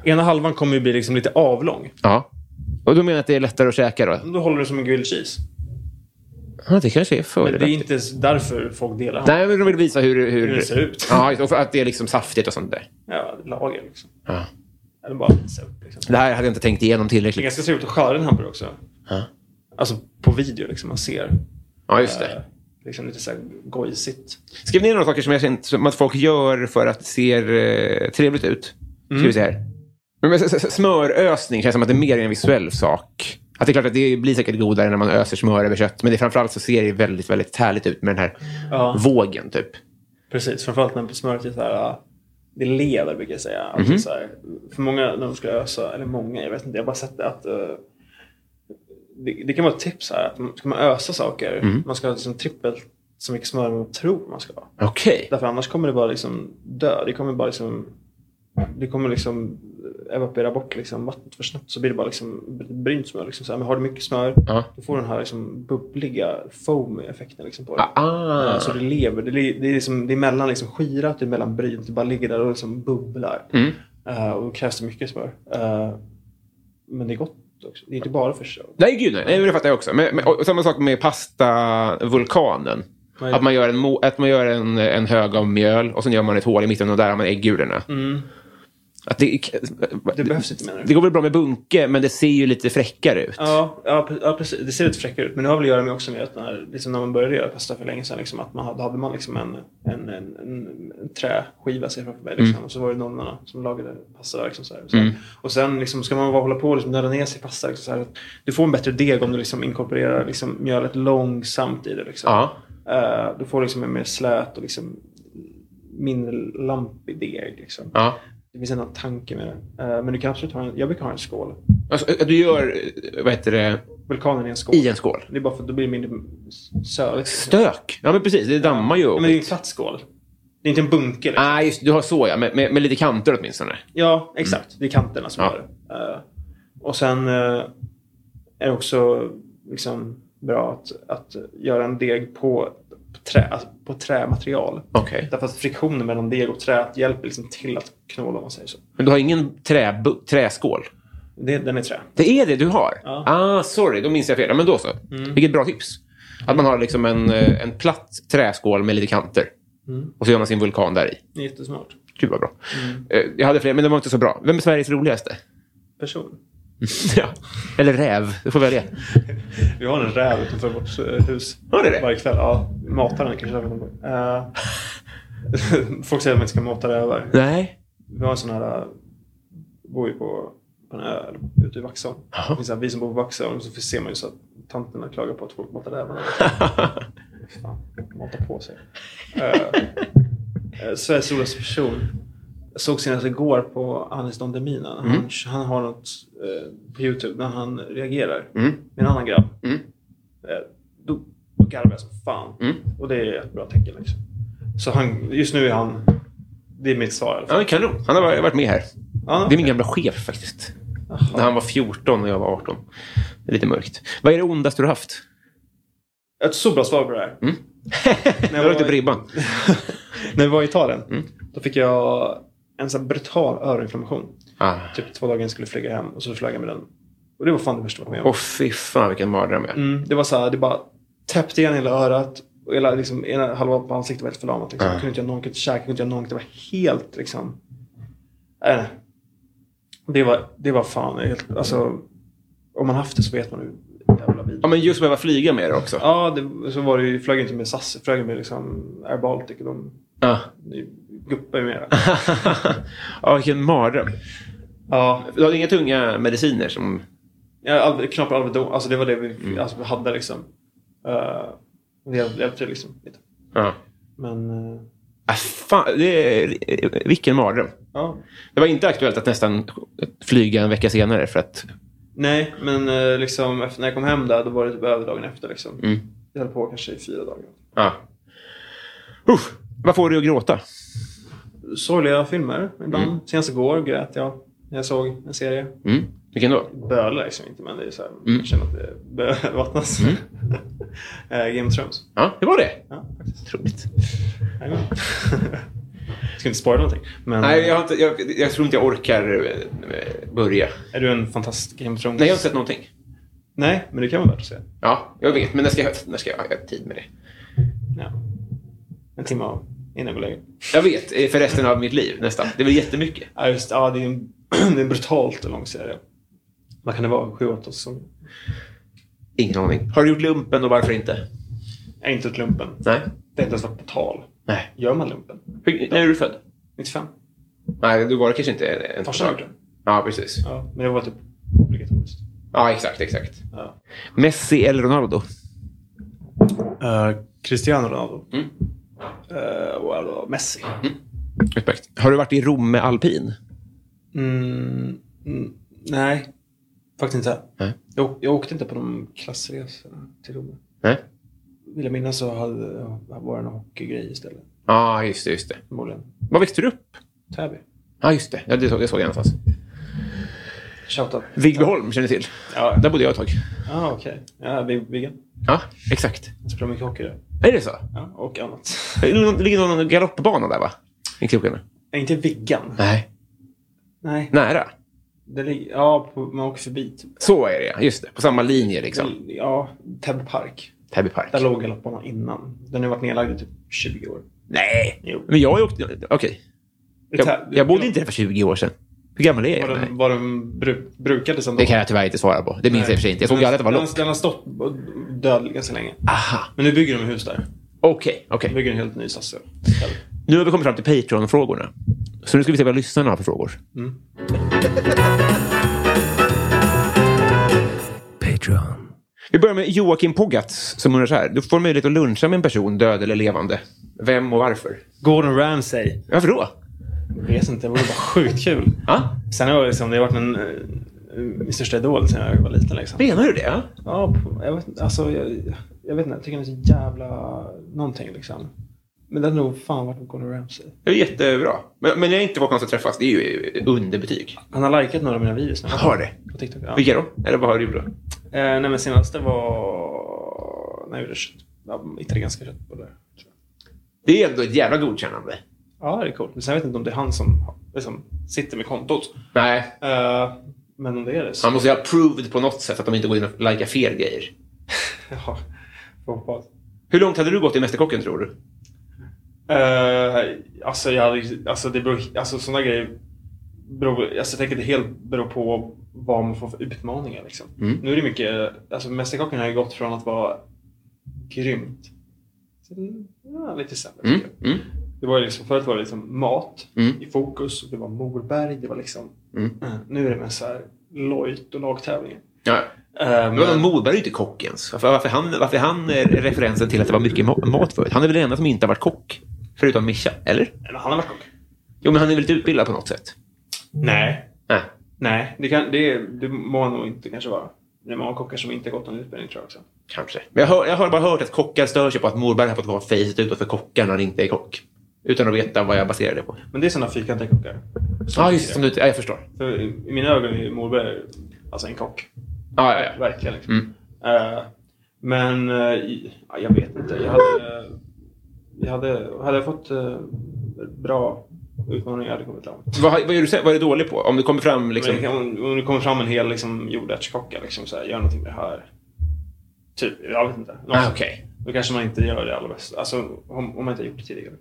Speaker 2: Ena halvan kommer ju bli liksom lite avlång.
Speaker 1: Ja. Och du menar jag att det är lättare att käka då?
Speaker 2: Då håller du som en grilled cheese.
Speaker 1: Ja, det kanske är
Speaker 2: Men det är
Speaker 1: fördelaktigt.
Speaker 2: inte ens därför folk delar
Speaker 1: Nej, men de vill visa hur... Hur,
Speaker 2: Hur det ser ut.
Speaker 1: Ja, just- och för att det är liksom saftigt och sånt där.
Speaker 2: Ja, lager liksom.
Speaker 1: Ja.
Speaker 2: Eller bara visa upp liksom.
Speaker 1: Det här hade jag inte tänkt igenom
Speaker 2: Det är
Speaker 1: tillräckligt.
Speaker 2: ganska trevligt att skära en hamburgare också.
Speaker 1: Ja.
Speaker 2: Alltså på video liksom, man ser.
Speaker 1: Ja, just
Speaker 2: eh,
Speaker 1: det.
Speaker 2: Liksom lite så här gojsigt.
Speaker 1: Skriv ner några saker som jag känt som att folk gör för att det ser eh, trevligt ut. Ska vi se här. Men, men, s- s- smörösning känns som att det är mer en visuell sak. Att det är klart att det blir säkert godare när man öser smör över kött. Men det är framförallt så ser det väldigt, väldigt härligt ut med den här
Speaker 2: Ja.
Speaker 1: vågen typ.
Speaker 2: Precis, framförallt när smöret är så här, ah, det lever brukar jag säga.
Speaker 1: Mhm.
Speaker 2: Alltså, så här, för många när de ska ösa, eller många, jag vet inte, jag har bara sett det att eh, det, det kan vara ett tips här, att man- ska man ösa saker,
Speaker 1: Mhm.
Speaker 2: man ska ha liksom trippelt så mycket smör man tror man ska ha.
Speaker 1: Okej.
Speaker 2: Därför annars kommer det bara liksom dö. Det kommer bara liksom det kommer liksom evaporera bort liksom vattnet för snabbt så blir det bara liksom brynt smör. Liksom så här. Men har du mycket smör
Speaker 1: Ja.
Speaker 2: då får du den här liksom bubbliga foam-effekten liksom på det.
Speaker 1: Ah, ah.
Speaker 2: Ja, Så det lever. Det, li- det, är liksom, det är mellan liksom skirat, det är mellan brynt. Det bara ligger där och liksom bubblar.
Speaker 1: Mm.
Speaker 2: Eh, och då krävs det mycket smör. Eh, men det är gott också. Det är inte bara för show.
Speaker 1: Nej, gud nej. nej. men Det fattar jag också. Men, men, och, och samma sak med pastavulkanen.
Speaker 2: Nej.
Speaker 1: Att man gör, en, mo- att man gör en, en hög av mjöl och sen gör man ett hål i mitten och där har man äggulorna. Att det,
Speaker 2: Det behövs inte menar
Speaker 1: Det
Speaker 2: du?
Speaker 1: går väl bra med bunke, men det ser ju lite fräckare ut.
Speaker 2: Ja, ja, pre- ja, precis. Det ser lite fräckare ut. Men det har väl att göra med också med att när, liksom när man började göra pasta för länge sedan. Liksom, att man hade, då hade man liksom en, en, en, en, en träskiva ser jag framför mig.
Speaker 1: Mm.
Speaker 2: Liksom, och så var det nonnorna som lagade pasta där. Liksom, så här, så här. Och sen liksom, ska man bara hålla på och liksom, nörda ner sig i pasta. Liksom, så här. Du får en bättre deg om du liksom, inkorporerar liksom, mjölet långsamt i det. Liksom.
Speaker 1: Ja.
Speaker 2: Eh, du får liksom en mer slät och liksom, mindre lampig deg. Liksom.
Speaker 1: Ja.
Speaker 2: Det finns en tanke med det. Eh, men du kan absolut ha en, jag brukar ha en skål.
Speaker 1: Alltså, att du gör, eh, vad heter det,
Speaker 2: Vulkanen är en skål.
Speaker 1: i en skål.
Speaker 2: Det är bara för att då blir det mindre söligt.
Speaker 1: Stök! Ja, men precis. Det dammar ju.
Speaker 2: Ja, men det är ju en platt skål. Det är inte en bunker. Liksom.
Speaker 1: ah, just Du har så, ja. Med, med, med lite kanter åtminstone.
Speaker 2: Ja, exakt. Det är kanterna som
Speaker 1: Mm. Ja.
Speaker 2: gör det. Eh, och sen eh, är det också liksom, bra att, att göra en deg på, trä, alltså, på trämaterial.
Speaker 1: Okej.
Speaker 2: Därför att friktionen mellan deg och trä hjälper liksom till att knåla om man säger så.
Speaker 1: Men du har ingen trä, bu- träskål?
Speaker 2: Det, den är trä.
Speaker 1: Det är det du har?
Speaker 2: Ja.
Speaker 1: Ah, sorry. Då minns jag fel. Ja, men då så. Vilket bra tips. Att man har liksom en, eh, en platt träskål med lite kanter. Och så gör man sin vulkan där i.
Speaker 2: Det är Jättesmart.
Speaker 1: Gud vad bra. Eh, Jag hade fler, men de var inte så bra. Vem är Sveriges roligaste?
Speaker 2: Person.
Speaker 1: ja. Eller räv. Du får välja.
Speaker 2: Vi har en räv utanför vårt eh, hus.
Speaker 1: Har ni det?
Speaker 2: Varje kväll. Ja, matar den kanske. jag vet inte. Eh, folk säger att man inte ska mata rävar.
Speaker 1: Nej.
Speaker 2: Vi har en sån här... eh, bor ju på, på en ö ute i Vaxholm. Det finns så här, vi som bor på Vaxholm så ser man ju så att tanterna klagar på att folk matar rävarna. Fan, matar på sig. Uh, Sveriges roligaste person. Jag såg senast igår på Anis Don Demina. Han, han har något eh, på Youtube när han reagerar med en annan grabb. Eh, då, då garvar jag som fan. Och det är ett bra tecken. Liksom. Så han, just nu är han... Det är mitt svar i alla fall.
Speaker 1: Ja, kanon. Han har varit med här.
Speaker 2: Ja,
Speaker 1: Det är min gamla chef faktiskt. När han var 14 och jag var 18. Det är lite mörkt. Vad är det ondaste du har haft?
Speaker 2: Ett så bra svar på det här.
Speaker 1: När jag var ute på ribban.
Speaker 2: När vi var i Italien, då fick jag en sån här brutal öroninflammation.
Speaker 1: Ah.
Speaker 2: Typ två dagar innan jag skulle flyga hem och så flög jag med den. Och det var fan det värsta jag varit med om.
Speaker 1: Åh, fy fan vilken mardröm. jag-
Speaker 2: Mm, det var så här, det bara täppte igen hela örat. Och hela, liksom, ena halva på ansiktet var helt förlamat. Liksom. Jag kunde inte göra någonting, käka, kunde inte göra någonting. Det var helt liksom... Äh, det, var, det var fan helt... Alltså, om man haft det så vet man hur jävla vidrigt.
Speaker 1: Ja, men just behöva flyga med det också.
Speaker 2: Ja, det, så var det ju, flög jag inte med SAS, jag flög med liksom Air Baltic och de
Speaker 1: Ah.
Speaker 2: guppar ju med
Speaker 1: ja, vilken mardröm.
Speaker 2: Ja,
Speaker 1: Du hade inga tunga mediciner som...
Speaker 2: jag hade knappt Alvedon, alltså det var det
Speaker 1: Mm.
Speaker 2: vi alltså, vi hade liksom. Eh, det hjälp- hjälpte liksom lite.
Speaker 1: Ja.
Speaker 2: Men eh,
Speaker 1: Ah, fan, det är... Vilken mardröm.
Speaker 2: ja,
Speaker 1: Det var inte aktuellt att nästan flyga en vecka senare för att...
Speaker 2: nej, men eh, liksom efter, när jag kom hem där då var det typ över dagen efter liksom.
Speaker 1: Mm.
Speaker 2: Jag höll på kanske i fyra dagar.
Speaker 1: Ja. Ah. Uff, vad får du att gråta?
Speaker 2: Sorgliga filmer ibland. Senast igår grät jag när jag såg en serie.
Speaker 1: Mm. Vilken då?
Speaker 2: Bölar liksom inte, men det är så här,
Speaker 1: Mm.
Speaker 2: jag känner att det bör- vattnas. Eh, Game of Thrones.
Speaker 1: Ja, det var det.
Speaker 2: Ja, faktiskt.
Speaker 1: Otroligt.
Speaker 2: Jajamän. jag ska inte spoila någonting. Men
Speaker 1: Nej, jag, har inte, jag, jag tror inte jag orkar eh, börja.
Speaker 2: är du en fantast Game of Thrones?
Speaker 1: Nej, jag har inte sett någonting.
Speaker 2: Nej, men det kan vara värt att se.
Speaker 1: Ja, jag vet. Men när ska jag, när ska jag ha tid med det?
Speaker 2: Ja. En timme av innan jag går och lägger mig.
Speaker 1: Jag vet. eh, För resten av mitt liv nästan. Det är väl jättemycket.
Speaker 2: Ja, just det. Ja, det är en, det är en brutalt lång serie. Vad kan det vara? Sju, åtta säsonger?
Speaker 1: Ingen aning. Har du gjort lumpen och varför inte?
Speaker 2: Nej, inte åt lumpen.
Speaker 1: Nej.
Speaker 2: Det har inte ens varit på tal.
Speaker 1: Nej.
Speaker 2: Gör man lumpen?
Speaker 1: Hur, när är du född?
Speaker 2: 95?
Speaker 1: Nej, du var det kanske inte en- en
Speaker 2: Farsan gjorde den.
Speaker 1: Ja, precis.
Speaker 2: Ja, men det var typ obligatoriskt.
Speaker 1: Ja, exakt, exakt.
Speaker 2: Ja.
Speaker 1: Messi eller Ronaldo?
Speaker 2: Eh, Cristiano Ronaldo. Eh, och alltså Messi.
Speaker 1: Utmärkt. Har du varit i Rom med alpin?
Speaker 2: Mm, mm, nej, faktiskt inte.
Speaker 1: Nej.
Speaker 2: Jag, jag åkte inte på de klassresorna till Rom.
Speaker 1: Nej.
Speaker 2: Vill jag minnas så hade, var det en hockeygrej istället.
Speaker 1: Ja, just det, just det.
Speaker 2: Förmodligen
Speaker 1: Var växte du upp?
Speaker 2: Täby.
Speaker 1: Ja, just det. Ja, det, så- det såg jag någonstans.
Speaker 2: Shoutout.
Speaker 1: Vigbyholm känner du till.
Speaker 2: Ja,
Speaker 1: Där bodde jag ett tag.
Speaker 2: ah, okej. Ja, vi- Viggen.
Speaker 1: Ja, exakt.
Speaker 2: Jag spelar mycket hockey där.
Speaker 1: Är det så?
Speaker 2: Ja, och annat.
Speaker 1: Det ligger någon- det ligger någon galoppbana där, va? I krokarna?
Speaker 2: Nej, inte Viggan.
Speaker 1: Nej.
Speaker 2: Nej.
Speaker 1: Nära.
Speaker 2: Det ligger, ja, på, man åker förbi typ.
Speaker 1: Så är det, ja. Just det. På samma linje, liksom.
Speaker 2: Ja, Täby park.
Speaker 1: Täby park.
Speaker 2: Där låg galopparna innan. Den har varit nedlagd i typ 20 år.
Speaker 1: Nej!
Speaker 2: Jo.
Speaker 1: Men jag åkte... Okej. Jag, jag bodde inte där för 20 år sedan. Hur gammal är jag?
Speaker 2: Vad
Speaker 1: Nej.
Speaker 2: den, vad den bru, brukade sen då.
Speaker 1: Det kan jag tyvärr inte svara på. Det minns jag i och för sig inte. Jag såg ju aldrig att det var
Speaker 2: den,
Speaker 1: långt.
Speaker 2: den har stått och död ganska länge.
Speaker 1: Aha.
Speaker 2: Men nu bygger de hus där.
Speaker 1: Okej,
Speaker 2: De
Speaker 1: okej.
Speaker 2: bygger en helt ny stadsdel.
Speaker 1: Nu har vi kommit fram till Patreon-frågorna. Så nu ska vi se vad lyssnarna har för frågor.
Speaker 3: Patreon.
Speaker 1: Vi börjar med Joakim Poggatz som undrar så här. Du får möjlighet att luncha med en person, död eller levande. Vem och varför?
Speaker 2: Gordon Ramsay.
Speaker 1: Varför då?
Speaker 2: Jag vet inte, det vore bara sjukt kul.
Speaker 1: Ja,
Speaker 2: Sen har jag liksom, det har varit en, eh, min största idol sen jag var liten. Liksom.
Speaker 1: menar du det? Ja?
Speaker 2: Ja, på- jag, vet, inte, alltså, jag, jag vet inte, jag tycker han är så jävla någonting. Liksom. Men det hade nog fan varit Gordon Ramsay.
Speaker 1: Det är jättebra. Men, men jag är inte vårt chans att träffas. Det är ju underbetyg.
Speaker 2: Han har likat några av mina videos nu.
Speaker 1: Har det?
Speaker 2: På TikTok, ja.
Speaker 1: Vilka då? Eller vad har du gjort då?
Speaker 2: Eh, nej, men senaste var... När jag gjorde kött. Ja, italienska köttbullar. tror jag.
Speaker 1: Det är ändå ett jävla godkännande.
Speaker 2: Ja, det är coolt. Men sen vet jag inte om det är han som har- liksom, sitter med kontot.
Speaker 1: Nej,
Speaker 2: Eh, men om det är det så...
Speaker 1: han måste ju ha proved på något sätt att de inte går in och likar fel grejer.
Speaker 2: Ja, får hoppas.
Speaker 1: Hur långt hade du gått i Mästerkocken tror du?
Speaker 2: Eh, alltså, jag hade, alltså, det beror, alltså sådana grejer beror, alltså, jag tänker att det helt beror på vad man får för utmaningar. Liksom.
Speaker 1: Mm.
Speaker 2: Nu är det mycket, alltså Mästerkocken har ju gått från att vara grymt till ja, lite sämre.
Speaker 1: Mm,
Speaker 2: tycker jag.
Speaker 1: mm.
Speaker 2: Det var ju liksom, förut var det liksom mat
Speaker 1: Mm.
Speaker 2: i fokus, och det var Morberg, det var liksom,
Speaker 1: Mm.
Speaker 2: eh, nu är det mer så här lojt och lagtävlingar.
Speaker 1: Ja.
Speaker 2: Eh,
Speaker 1: Men vadå,
Speaker 2: men-
Speaker 1: Moberg är ju inte kock ens. Varför, varför, han, varför han är referensen till att det var mycket ma- mat förut? Han är väl den enda som inte har varit kock? Förutom Mischa, eller?
Speaker 2: men han har varit kock.
Speaker 1: Jo, men han är väl lite utbildad på något sätt?
Speaker 2: Nej,
Speaker 1: Nej.
Speaker 2: Nej, det, kan, det, det må han nog inte kanske vara. Det är många kockar som inte gått någon utbildning tror jag också.
Speaker 1: Kanske. Men jag har, jag har bara hört att kockar stör sig på att Morberg har fått vara fejset utåt för kockar när han inte är kock. Utan att veta vad jag baserar det på.
Speaker 2: Men det är sådana fyrkantiga kockar.
Speaker 1: Ja, ah, just det. Som du, ja, jag förstår.
Speaker 2: För i, I mina ögon är Morberg alltså en kock.
Speaker 1: Ja, ja, ja.
Speaker 2: Verkligen. Liksom.
Speaker 1: Mm.
Speaker 2: Eh, men eh, i- ja, jag vet inte. Jag hade, jag hade, hade jag fått eh, bra utmaningar hade jag kommit långt.
Speaker 1: Vad, vad, är du, sä- vad är du dålig på? Om du kommer fram liksom...
Speaker 2: Men om, om det kommer fram en hel liksom, jordärtskocka, liksom, så här, gör någonting med det här. Typ, jag vet inte. Något
Speaker 1: Ah,
Speaker 2: sånt.
Speaker 1: okej.
Speaker 2: Då kanske man inte gör det allra bästa. Alltså, om, om man inte har gjort det tidigare.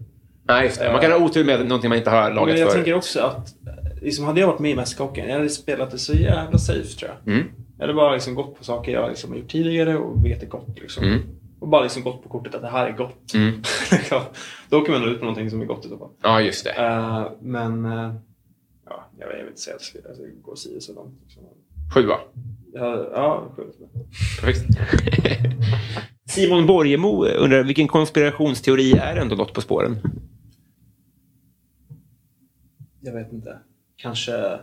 Speaker 1: Nej, just det. Man kan ha otur med någonting man inte har lagat
Speaker 2: Men jag
Speaker 1: för.
Speaker 2: tänker också att liksom, hade jag varit med i Mästerkocken, jag hade spelat det så jävla safe tror jag.
Speaker 1: Mm.
Speaker 2: Jag hade bara liksom gått på saker jag liksom har gjort tidigare och vet är gott. Liksom.
Speaker 1: Mm.
Speaker 2: Och bara liksom gått på kortet att det här är gott.
Speaker 1: Mm.
Speaker 2: Ja, Då åker man nog ut på någonting som är gott i så fall.
Speaker 1: Ja, just det.
Speaker 2: Eh, men eh, ja, jag vet jag vill inte säga att det- alltså, det går si och så långt. Liksom.
Speaker 1: Sjua.
Speaker 2: Ja, ja, sjukt.
Speaker 1: Perfekt. Simon Borgemo undrar vilken konspirationsteori är ändå något på spåren?
Speaker 2: Jag vet inte. Kanske...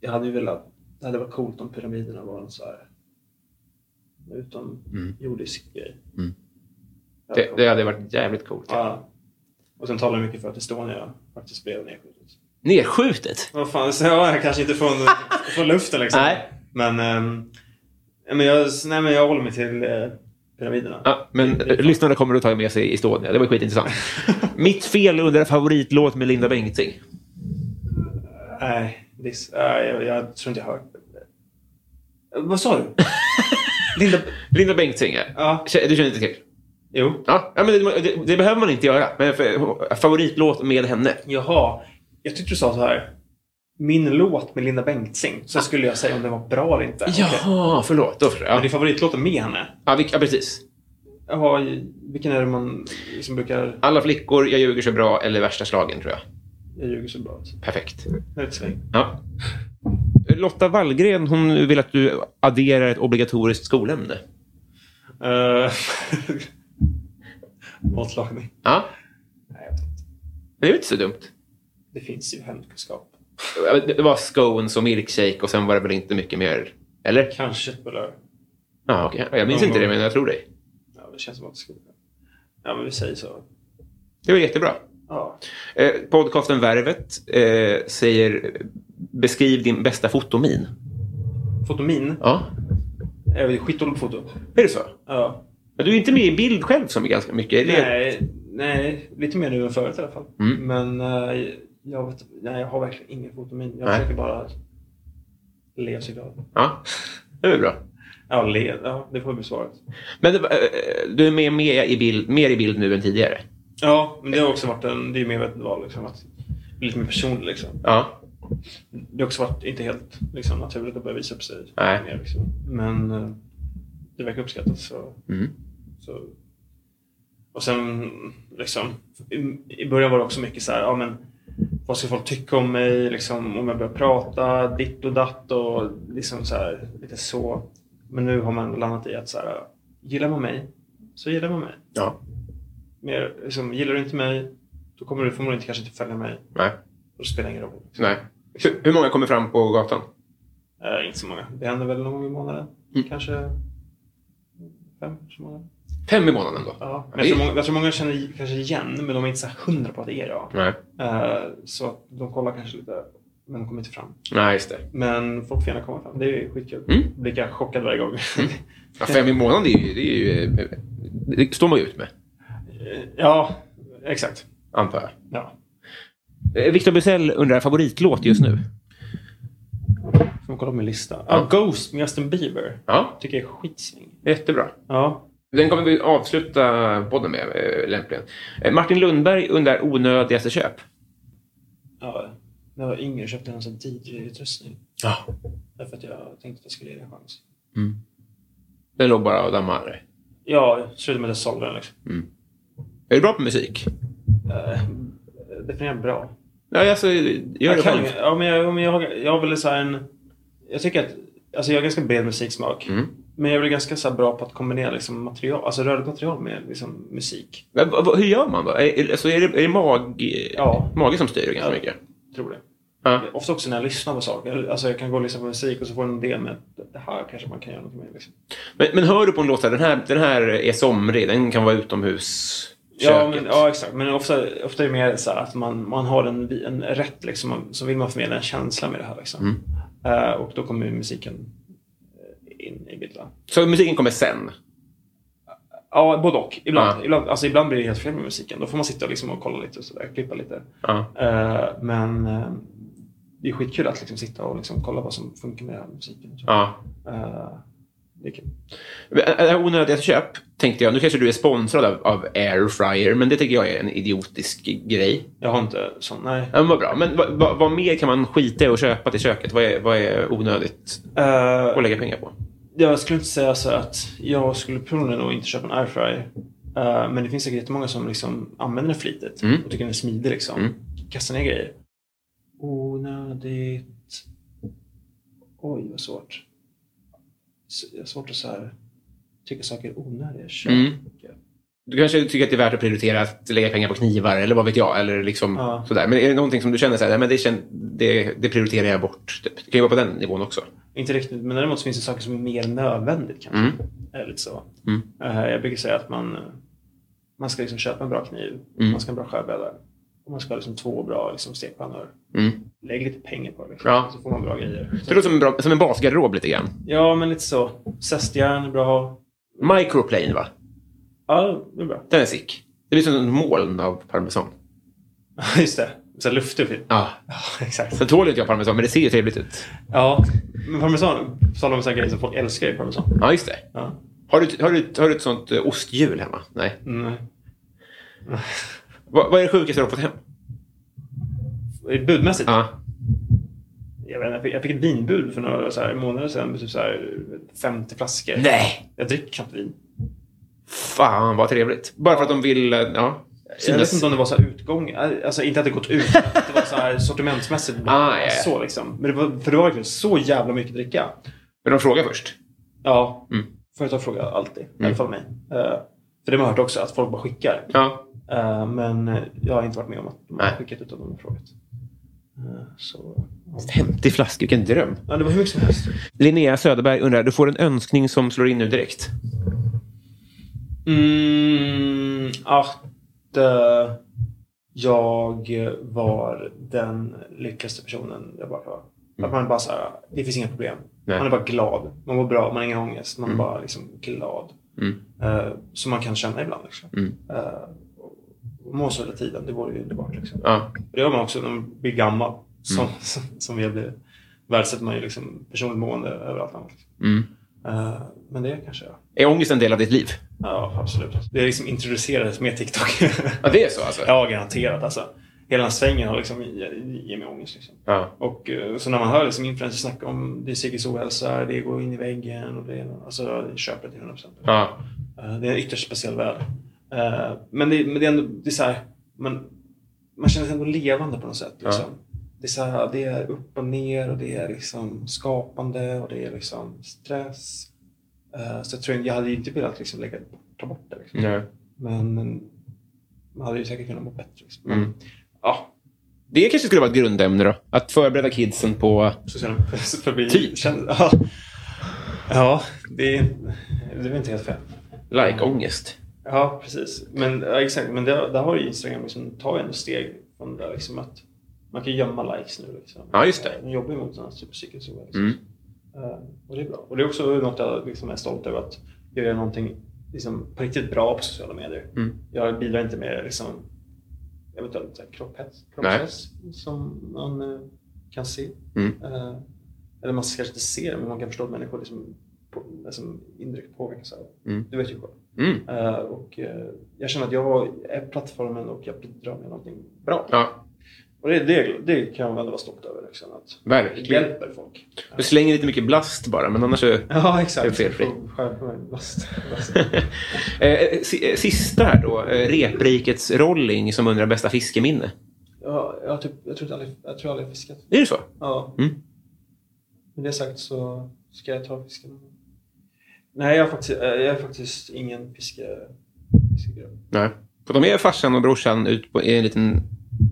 Speaker 2: Jag hade ju velat... Det hade varit coolt om pyramiderna var en så här utomjordisk grej. Ja,
Speaker 1: Mm. Det, det hade varit jävligt coolt.
Speaker 2: Ja. Och sen talar jag mycket för att Estonia faktiskt blev nedskjutet.
Speaker 1: Nerskjutet?
Speaker 2: Vad fan, så jag kanske inte från, från luften liksom.
Speaker 1: Nej.
Speaker 2: Men, ehm, men, jag, nej, men jag håller mig till eh, pyramiderna.
Speaker 1: Ja, men eh, lyssnarna kommer att ta med sig Estonia. Det var skitintressant. Mitt fel undrar favoritlåt med Linda Bengtzing.
Speaker 2: Nej, this, nej, jag, jag tror inte jag hört Vad sa du? Linda...
Speaker 1: Linda Bengtzing.
Speaker 2: Ja.
Speaker 1: Du känner inte till?
Speaker 2: Jo.
Speaker 1: Ja, ja, men det, det, det behöver man inte göra. Men för, favoritlåt med henne.
Speaker 2: Jaha. Jag tyckte du sa så här. Min låt med Linda Bengtzing. Så skulle jag säga om den var bra eller inte. Okej.
Speaker 1: Jaha, förlåt. Då förstår
Speaker 2: Men
Speaker 1: jag.
Speaker 2: det
Speaker 1: Ja,
Speaker 2: är favoritlåten med henne.
Speaker 1: ja, vilk- ja, precis.
Speaker 2: Jaha, vilken är det man som brukar...
Speaker 1: Alla flickor, Jag ljuger så bra eller Värsta slagen tror jag.
Speaker 2: Jag ljuger så bra.
Speaker 1: Perfekt.
Speaker 2: Det är ett sväng.
Speaker 1: Ja. Eh, Lotta Wallgren hon vill att du adderar ett obligatoriskt skolämne.
Speaker 2: Eh, Matlagning.
Speaker 1: Ja,
Speaker 2: Nej, jag vet inte.
Speaker 1: det är ju inte så dumt.
Speaker 2: Det finns ju hemkunskap.
Speaker 1: Ja, men Det det var scones och milkshake och sen var det väl inte mycket mer? Eller?
Speaker 2: Kanske ett belög.
Speaker 1: Ja, okej. Jag minns inte det, men jag tror dig.
Speaker 2: Ja, det känns som att det skulle... Ja, men vi säger så.
Speaker 1: Det var jättebra.
Speaker 2: Ja.
Speaker 1: Eh, podcasten Värvet eh, säger eh, beskriv din bästa fotomin.
Speaker 2: Fotomin.
Speaker 1: Ja.
Speaker 2: Jag är ju skitdålig på foto.
Speaker 1: Är det så?
Speaker 2: Ja.
Speaker 1: Men Du är inte med i bild själv så ganska mycket. eller?
Speaker 2: Nej, nej, lite mer nu än förut i alla fall.
Speaker 1: Mm.
Speaker 2: Men eh, jag, vet, nej, jag har verkligen ingen fotomin. Jag
Speaker 1: Nej.
Speaker 2: försöker bara le så glad.
Speaker 1: Ja, det är väl bra.
Speaker 2: Ja, le. Ja, det får bli svaret.
Speaker 1: Men eh, eh, du är med, med i bild, mer i bild nu än tidigare?
Speaker 2: Ja, men det har också varit en... Det är ju medvetet val liksom. Att, bli lite mer personlig liksom.
Speaker 1: Ja.
Speaker 2: Det har också varit inte helt liksom, naturligt att börja visa upp sig.
Speaker 1: Nej.
Speaker 2: Mer, liksom. Men eh, det verkar uppskattas. Så,
Speaker 1: Mm.
Speaker 2: så. Och sen liksom, i, i början var det också mycket så här, ja men vad ska folk tycka om mig? Liksom, om jag börjar prata ditt och datt och liksom så här, lite så. Men nu har man landat i att så här, gillar man mig så gillar man mig.
Speaker 1: Ja.
Speaker 2: Mer, liksom, gillar du inte mig då kommer du förmodligen inte, kanske inte följa mig
Speaker 1: Nej.
Speaker 2: och det spelar ingen roll.
Speaker 1: Nej. Hur, hur många kommer fram på gatan?
Speaker 2: Eh, inte så många. Det händer väl någon gång i månaden.
Speaker 1: Mm.
Speaker 2: Kanske fem, så många.
Speaker 1: Fem i månaden då?
Speaker 2: Ja. Men jag, tror många, jag tror många känner kanske igen, men de är inte så här hundra på att det är jag.
Speaker 1: Nej. Mm.
Speaker 2: Eh, så att de kollar kanske lite, men de kommer inte fram.
Speaker 1: Nej, just det.
Speaker 2: Men folk får gärna komma fram. Det är skitkul.
Speaker 1: Mm.
Speaker 2: Blir kanske chockad varje gång.
Speaker 1: Ja, fem i månaden, det är ju... Det, är ju, eh, det står man ju ut med,
Speaker 2: Eh, ja, exakt.
Speaker 1: antar jag.
Speaker 2: Ja.
Speaker 1: Eh, Victor Bysell undrar favoritlåt just nu.
Speaker 2: Får man kolla på min lista? Ja, Ghost med Justin Bieber.
Speaker 1: Ja,
Speaker 2: Tycker jag är skitsving.
Speaker 1: jättebra.
Speaker 2: Ja.
Speaker 1: Den kommer vi avsluta podden med eh, lämpligen. Eh, Martin Lundberg undrar onödigaste köp.
Speaker 2: ja. När jag var yngre köpte jag en sån DJ-utrustning.
Speaker 1: Ja.
Speaker 2: Därför att jag tänkte att jag skulle ge det en chans.
Speaker 1: Den låg bara och dammade.
Speaker 2: Ja, slutade med att jag sålde den liksom.
Speaker 1: Är du bra på musik?
Speaker 2: Definiera Eh, bra.
Speaker 1: Nej, alltså, gör det
Speaker 2: Mm. Jag kan,
Speaker 1: själv.
Speaker 2: ja, men jag, ja, men jag, jag har väl så här en... Jag tycker att... Alltså jag har ganska bred musiksmak. Men jag är väl ganska så här bra på att kombinera liksom material, alltså rörligt material med liksom musik.
Speaker 1: Men vad- vad- Hur gör man då? Är, alltså, är det, är det mag,
Speaker 2: Ja.
Speaker 1: mage som styr ganska mycket?
Speaker 2: Tror det.
Speaker 1: Ja.
Speaker 2: Ofta också när jag lyssnar på saker. Alltså jag kan gå och lyssna på musik och så får jag en idé med att det här kanske man kan göra något med. Liksom.
Speaker 1: Men, men hör du på en låt så här, den här, den här är somrig, den kan vara utomhus.
Speaker 2: Ja, men, ja, exakt. Men ofta, ofta är det mer så här att man, man har en, vi- en rätt, liksom, man- så vill man förmedla en känsla med det här. Liksom. Eh, och då kommer ju musiken eh, in i bilden.
Speaker 1: Så musiken kommer sen?
Speaker 2: Ja, både och. Ibland,
Speaker 1: Ja.
Speaker 2: ibland, alltså ibland blir det helt fel med musiken. Då får man sitta liksom och kolla lite och sådär, klippa lite.
Speaker 1: Ja.
Speaker 2: Eh, men eh, det är skitkul att liksom sitta och liksom kolla vad som funkar med den här musiken.
Speaker 1: ja.
Speaker 2: Eh, det är kul.
Speaker 1: Det här onödiga köp tänkte jag, nu kanske du är sponsrad av, av Airfryer, men det tycker jag är en idiotisk grej.
Speaker 2: Jag har inte sån, nej.
Speaker 1: Ja, men vad bra. Men vad, vad, vad mer kan man skita i och köpa till köket? Vad är, vad är onödigt
Speaker 2: Eh,
Speaker 1: att lägga pengar på?
Speaker 2: jag skulle inte säga så att jag skulle personligen nog inte köpa en airfryer. Eh, men det finns säkert jättemånga som liksom använder den flitigt
Speaker 1: Mm.
Speaker 2: och tycker den är smidig. Liksom.
Speaker 1: Mm.
Speaker 2: Kastar ner grejer. Onödigt. Oj, vad svårt. S- jag har svårt att så här, tycka saker är onödiga. Köp.
Speaker 1: Mm. Du kanske tycker att det är värt att prioritera att lägga pengar på knivar eller vad vet jag. Eller liksom
Speaker 2: Ja.
Speaker 1: sådär. Men är det någonting som du känner så här, nej, men det, kän, det, det prioriterar jag bort? Typ. Det kan ju vara på den nivån också.
Speaker 2: Inte riktigt, men däremot så finns det saker som är mer nödvändigt kanske.
Speaker 1: Mm.
Speaker 2: Eller lite så.
Speaker 1: Mm.
Speaker 2: Eh, jag brukar säga att man, eh, man ska liksom köpa en bra kniv,
Speaker 1: Mm.
Speaker 2: man ska ha en bra skärbräda och man ska ha liksom två bra liksom, stekpannor.
Speaker 1: Mm.
Speaker 2: Lägg lite pengar på det liksom,
Speaker 1: Ja.
Speaker 2: så får man bra grejer.
Speaker 1: Det låter som en, bra, som en basgarderob lite grann.
Speaker 2: Ja, men lite så. Zestjärn är bra.
Speaker 1: Microplane, va?
Speaker 2: Ja, det är bra.
Speaker 1: Den är sick. Det blir som en moln av parmesan.
Speaker 2: Just det. Så här luftig och fin.
Speaker 1: Ja.
Speaker 2: Ja, exakt.
Speaker 1: Sen tål inte jag parmesan, men det ser ju trevligt ut.
Speaker 2: Ja. Men parmesan, på tal om så här grejer som folk älskar ju parmesan.
Speaker 1: Ja, just det.
Speaker 2: Ja.
Speaker 1: Har du, har du, har du ett sånt eh, osthjul hemma? Nej.
Speaker 2: Mm.
Speaker 1: Va, vad är det sjukaste du har fått hem?
Speaker 2: Budmässigt?
Speaker 1: Ja.
Speaker 2: Jag, vet inte, jag, fick, jag fick ett vinbud för några så här, månader sedan med typ så här, 50 flaskor.
Speaker 1: Nej!
Speaker 2: Jag dricker knappt vin.
Speaker 1: Fan, vad trevligt. Bara för att de vill... eh, Ja.
Speaker 2: Jag
Speaker 1: synas.
Speaker 2: vet inte om det var så här utgång. Alltså inte att det gått ut. men att det var så här sortimentsmässigt.
Speaker 1: Ah, ja, ja.
Speaker 2: Så liksom. Men det var, för det var verkligen så jävla mycket dricka.
Speaker 1: Men de frågar först.
Speaker 2: Ja.
Speaker 1: Mm.
Speaker 2: Företag frågar alltid. I alla fall mig. Eh, för det har man hört också, att folk bara skickar.
Speaker 1: Ja.
Speaker 2: Eh, men jag har inte varit med om att de har
Speaker 1: Nej.
Speaker 2: skickat utan de har frågat. Eh, så... ja.
Speaker 1: 50 flaskor, vilken dröm.
Speaker 2: Ja, det var hur mycket som helst.
Speaker 1: Linnea Söderberg undrar, du får en önskning som slår in nu direkt.
Speaker 2: Mm, att eh, jag var den lyckligaste personen jag bara kan vara. Att man bara så här, det finns inga problem.
Speaker 1: Mm. Nej.
Speaker 2: Man är bara glad. Man mår bra, man har ingen ångest. Man är bara liksom glad.
Speaker 1: Mm.
Speaker 2: Eh, som man kan känna ibland. Liksom.
Speaker 1: Mm.
Speaker 2: Eh, och må så hela tiden. Det vore ju underbart. Liksom.
Speaker 1: Ja. Mm.
Speaker 2: Det gör man också när man blir gammal. Som, som, som vi har blivit. Värdesätter man ju liksom personligt mående över allt annat.
Speaker 1: Mm.
Speaker 2: Eh, men det kanske jag.
Speaker 1: Är ångest en del av ditt liv?
Speaker 2: Ja, absolut. Det liksom introducerades med TikTok.
Speaker 1: Ja, det är så alltså?
Speaker 2: ja, garanterat. Alltså. Hela den svängen har liksom gett mig ångest. Liksom.
Speaker 1: Ja.
Speaker 2: Och eh, så när man hör liksom influencers snacka om det är psykisk ohälsa, det går in i väggen och det alltså, jag köper det till 100
Speaker 1: Ja.
Speaker 2: Eh, Det är en ytterst speciell värld. Eh, Men det, men det är ändå, det är så här, man, man känner sig ändå levande på något sätt. Liksom. Det, är så här, det är upp och ner och det är liksom skapande och det är liksom stress. Eh, Så jag, tror, jag hade ju inte velat liksom lägga, ta bort det. Liksom.
Speaker 1: Nej.
Speaker 2: Men man hade ju säkert kunnat må bättre. Liksom. Men,
Speaker 1: Mm.
Speaker 2: Ja,
Speaker 1: Det kanske skulle vara ett grundämne då? Att förbereda kidsen på...
Speaker 2: sociala fobi.
Speaker 1: Typ.
Speaker 2: Känner- Ja, ja det, är, det är inte helt fel.
Speaker 1: Like-ångest.
Speaker 2: Ja, precis. Men, ja, exakt. Men där, där har ju Instagram liksom, tar ju ändå steg från det där, liksom, att man kan gömma likes nu. Liksom.
Speaker 1: Ja, just det.
Speaker 2: Eh, De jobbar ju mot den här typ psykisk ohälsa.
Speaker 1: Mm.
Speaker 2: Eh, Och det är bra. Och det är också något jag liksom är stolt över att jag gör någonting liksom, på riktigt bra på sociala medier.
Speaker 1: Mm.
Speaker 2: Jag bidrar inte med liksom, eventuellt så här kropphets, kropphets som man eh, kan se.
Speaker 1: Mm.
Speaker 2: Eh, Eller man kanske inte ser det, men man kan förstå att människor liksom, på, liksom, indirekt påverkas av det.
Speaker 1: Mm.
Speaker 2: Du vet ju själv.
Speaker 1: Mm.
Speaker 2: Eh, och, eh, jag känner att jag är plattformen och jag bidrar med någonting bra.
Speaker 1: Ja,
Speaker 2: Och det, det, det kan jag väl vara stolt över. Liksom, att det
Speaker 1: verkligen.
Speaker 2: hjälper folk.
Speaker 1: Du slänger lite mycket blast bara, men annars så...
Speaker 2: Ja,
Speaker 1: Det är
Speaker 2: exakt.
Speaker 1: felfri.
Speaker 2: Själv- last- last.
Speaker 1: Eh, si- eh, Sista här då. eh, Reprikets Rolling som undrar bästa fiskeminne.
Speaker 2: Ja, jag, har typ, jag, tror inte aldrig, jag tror aldrig jag fiskat.
Speaker 1: Är det så?
Speaker 2: Ja.
Speaker 1: Mm.
Speaker 2: Med det sagt så ska jag ta fisken. Nej, jag är faktiskt, eh, jag är faktiskt ingen fiske, fiskegrupp.
Speaker 1: Nej. För de är farsan och brorsan ut på i en liten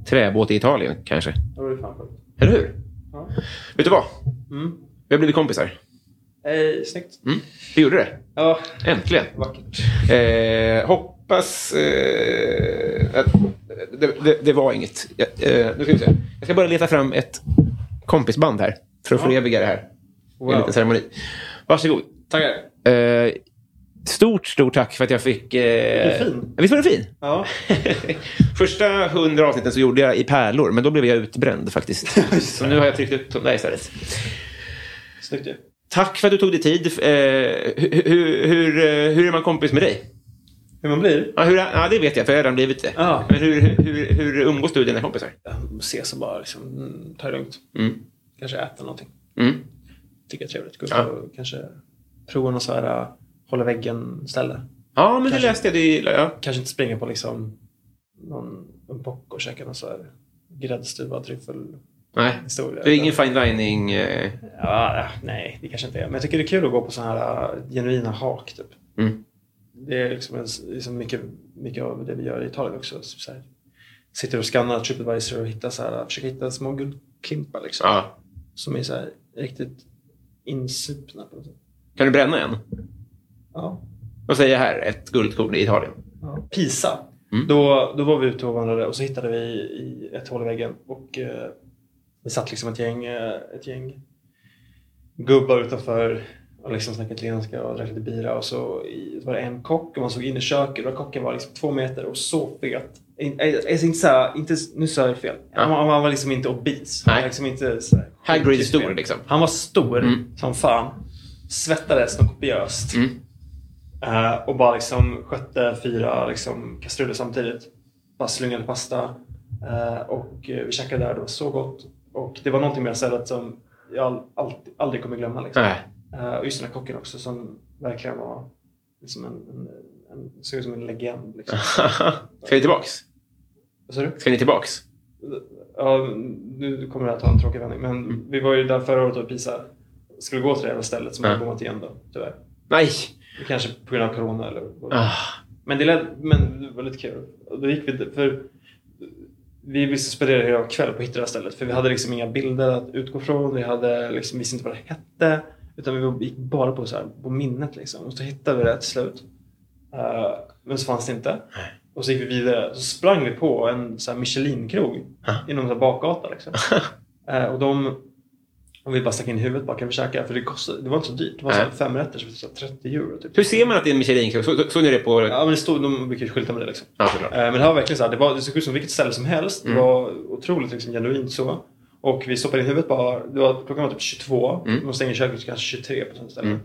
Speaker 1: träbåt i Italien kanske.
Speaker 2: Det vore fan sjukt.
Speaker 1: Eller hur?
Speaker 2: Ja.
Speaker 1: Vet du vad?
Speaker 2: Mm.
Speaker 1: Vi har blivit kompisar.
Speaker 2: Eh, snyggt.
Speaker 1: Mm. Vi gjorde det.
Speaker 2: Ja,
Speaker 1: Äntligen.
Speaker 2: vackert.
Speaker 1: Eh, hoppas... Eh, att, det, det, det var inget. Jag, eh, nu ska vi se. Jag ska bara leta fram ett kompisband här. För att föreviga det här. i En
Speaker 2: Wow.
Speaker 1: liten ceremoni. Varsågod.
Speaker 2: Tackar.
Speaker 1: Eh, stort, stort tack för att jag fick... Eh,
Speaker 2: Vilken fin.
Speaker 1: Visst var den fin?
Speaker 2: Ja.
Speaker 1: Första hundra avsnitten så gjorde jag i pärlor, men då blev jag utbränd faktiskt. så nu har jag tryckt upp dem där istället.
Speaker 2: Snyggt ju.
Speaker 1: Tack för att du tog dig tid. Eh, hur, hur, hur, eh, hur är man kompis med dig?
Speaker 2: Hur man blir?
Speaker 1: Ja, hur, ja det vet jag, för jag har redan blivit det.
Speaker 2: Ja.
Speaker 1: Men hur, hur, hur umgås du med dina kompisar?
Speaker 2: Ses och bara liksom, mm, ta det lugnt.
Speaker 1: Mm.
Speaker 2: Kanske äta någonting.
Speaker 1: Mm.
Speaker 2: Tycker jag är trevligt. Gå ut
Speaker 1: Ja.
Speaker 2: och kanske prova något så här äh, hålla väggen-ställe.
Speaker 1: Ja, men det
Speaker 2: Kanske.
Speaker 1: läste jag. Det, ja.
Speaker 2: Kanske inte springa på liksom någon en bock och käka någon så här gräddstuvad
Speaker 1: Nej.
Speaker 2: tryffelhistoria.
Speaker 1: Det är ingen fine dining... Eh,
Speaker 2: Ja, äh, nej, det kanske inte är. Men jag tycker det är kul att gå på sådana här äh, genuina hak. Typ.
Speaker 1: Mm.
Speaker 2: Det är liksom, en, liksom mycket, mycket av det vi gör i Italien också. Så här, sitter och skannar Tripadvisor och hittar så här, äh, försöker hitta små guldklimpar. Liksom.
Speaker 1: ja.
Speaker 2: som är så här riktigt insupna på något sätt.
Speaker 1: Kan du bränna en?
Speaker 2: Ja.
Speaker 1: Vad säger jag här? Ett guldkorn i Italien.
Speaker 2: ja. Pisa.
Speaker 1: Mm.
Speaker 2: Då, då var vi ute och vandrade och så hittade vi i ett hål i väggen och eh, vi satt liksom ett gäng, eh, ett gäng gubbar utanför och liksom snackade italienska och drack lite bira och så i- var det en kock och man såg in i köket och kocken var liksom två meter och så fet in- eh, alltså inte såhär, inte, nu sa jag fel. Han, var- han var liksom inte obese. Han
Speaker 1: Nej.
Speaker 2: var liksom inte såhär,
Speaker 1: Hagrid
Speaker 2: sjukt
Speaker 1: stor,
Speaker 2: fel.
Speaker 1: liksom. Mm.
Speaker 2: Han var stor som fan. Svettades något kopiöst. Eh, och bara liksom skötte fyra liksom, kastruller samtidigt. Bara slungade pasta. Eh, och eh, vi käkade där. Det var så gott. Och det var någonting med det här stället som jag all, alltid- aldrig kommer glömma. Liksom.
Speaker 1: Nej.
Speaker 2: Eh, och just den här kocken också som verkligen var liksom en, en, en, såg ut som en legend. Liksom.
Speaker 1: Ska ni tillbaks?
Speaker 2: Vad sa du?
Speaker 1: Ska ni tillbaks?
Speaker 2: Ja, nu kommer det här ta en tråkig vändning, men vi var ju där förra året och Pisa skulle gå till det här stället som
Speaker 1: Ja.
Speaker 2: har kommit igen då, tyvärr.
Speaker 1: Nej!
Speaker 2: Kanske på grund av corona eller vad.
Speaker 1: Ah.
Speaker 2: Men, det lät, men det var lite kul. Och Då gick vi, för vi ville spendera hela kväll på att hitta det här stället för vi hade liksom inga bilder att utgå från. Vi hade liksom, visste inte vad det hette. Utan vi gick bara på, så här, på minnet liksom. Och så hittade vi det till slut. Eh, men så fanns det inte. Och så gick vi vidare. Så sprang vi på en så här Michelin-krog i någon så här bakgata. Liksom. Eh, och de... Och vi bara stack in huvudet bara, kan vi käka? För det, kostade, det var inte så dyrt. Det var så här
Speaker 1: Nej.
Speaker 2: fem rätter, så så här 30 euro. Typ.
Speaker 1: Hur ser man att det är en Michelin-krog? Så- så- Såg ni det på...
Speaker 2: Ja, men det stod, de brukar ju skylta med det. Liksom.
Speaker 1: Ja, såklart.
Speaker 2: Eh, Men det här var verkligen så här, det, var, det såg ut som vilket ställe som helst. Det var otroligt liksom, genuint så. Och vi stoppade in huvudet bara. Det var, klockan var typ 22. De stänger köket kanske 23 på sånt ställe.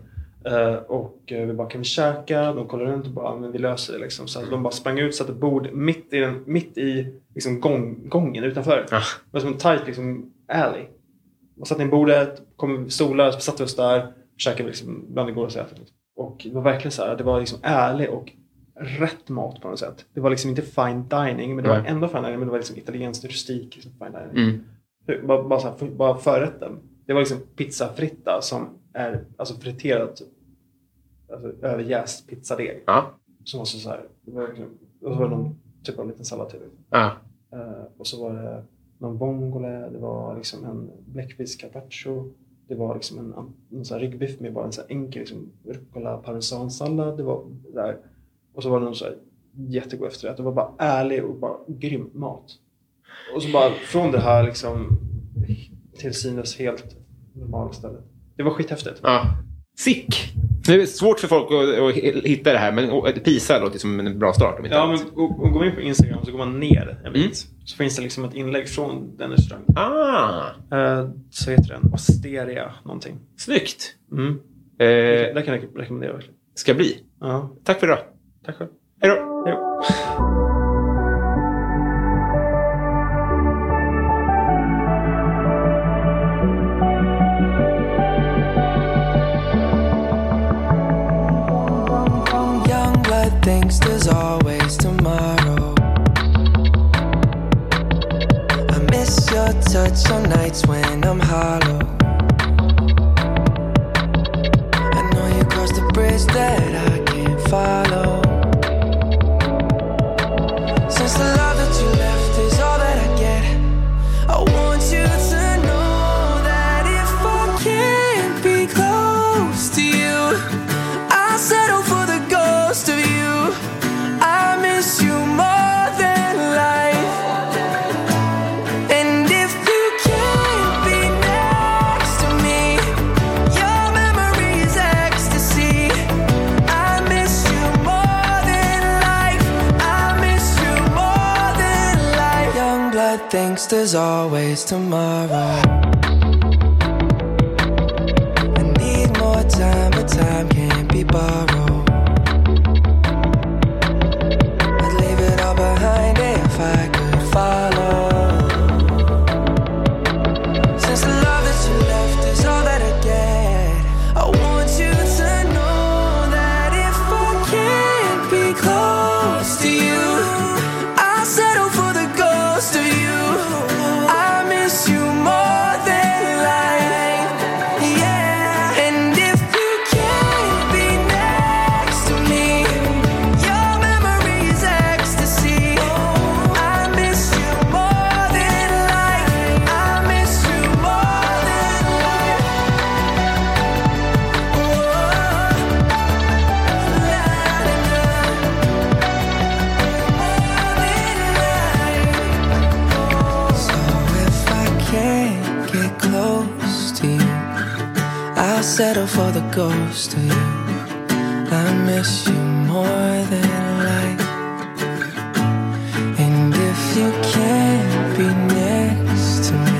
Speaker 2: Eh, och eh, vi bara, kan vi käka? De kollade runt och bara, men vi löser det liksom. Så att de bara sprang ut, satte bord mitt i, den, mitt i liksom, gång, gången utanför.
Speaker 1: Ah.
Speaker 2: Det var som en tight liksom, alley. Och satte in bordet, kom stolar, satte oss där. Käkade liksom bland det godaste jag ätit. Och det var verkligen så här, det var liksom ärlig och rätt mat på något sätt. Det var liksom inte fine dining, men det var
Speaker 1: Nej. Mm.
Speaker 2: ändå fine dining. Men det var liksom italienskt rustik. Liksom fine dining. Bara, bara, så här, för, bara förrätten. Det var liksom pizzafritta som är alltså friterad typ. Alltså överjäst pizzadeg.
Speaker 1: Ja.
Speaker 2: Som var så, så här, det var liksom, och så var det någon typ av liten sallad till.
Speaker 1: Ja.
Speaker 2: Eh, och så var det någon vongole, det var liksom en bläckfisk carpaccio. Det var liksom en, en sån här ryggbiff med bara en sån här enkel liksom, rucola parmesansallad. Det var där. Och så var det någon så här jättegod efterrätt. Det var bara ärlig och bara grym mat. Och så bara från det här liksom till synes helt normala stället. Det var skithäftigt.
Speaker 1: Ja. Sick! Det är svårt för folk att, att hitta det här, men och- eh, Pisa låter som en bra start. Om inte
Speaker 2: Ja,
Speaker 1: annat.
Speaker 2: men gå- gå- går man in på Instagram så går man ner en bit. Så finns det liksom ett inlägg från den restaurangen.
Speaker 1: Ah,
Speaker 2: Eh, så heter den Asteria någonting.
Speaker 1: snyggt!
Speaker 2: Mm.
Speaker 1: Eh,
Speaker 2: Det kan jag rekommendera verkligen.
Speaker 1: ska bli.
Speaker 2: Ja,
Speaker 1: Tack för idag.
Speaker 2: tack själv.
Speaker 1: Hej då!
Speaker 2: Hej då.
Speaker 3: Young blood thinks there's always tomorrow. I miss your touch on nights when I'm hollow. I know you crossed the bridge that I can't follow. Since the love that you left is all that I get, I want you to know that if I can't be close to you. I settle for the ghost of you. I miss you more than life. And if you can't be next to me, your memory is ecstasy. I miss you more than life. I miss you more than life. Young blood thinks there's always tomorrow. I need more time, but time can't be borrowed. I'd leave it all behind if I could follow. Since the love that you left is all that I get, I want you to know that if I can't be close to you, I settle for the ghost of you. I miss you more than life. Yeah. And if you can't be next to me, your memory is ecstasy. Oh, I miss you more than life. I miss you more than life. Oh, So if I can't get close to you. I settle for the ghost of you. I miss you more than life. And Cause you can't be next to me.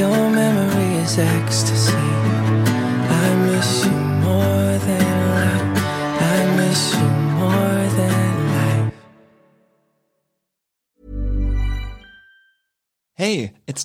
Speaker 3: Your memory is ecstasy. I miss you more than life. I miss you more than life.
Speaker 4: Hey, it's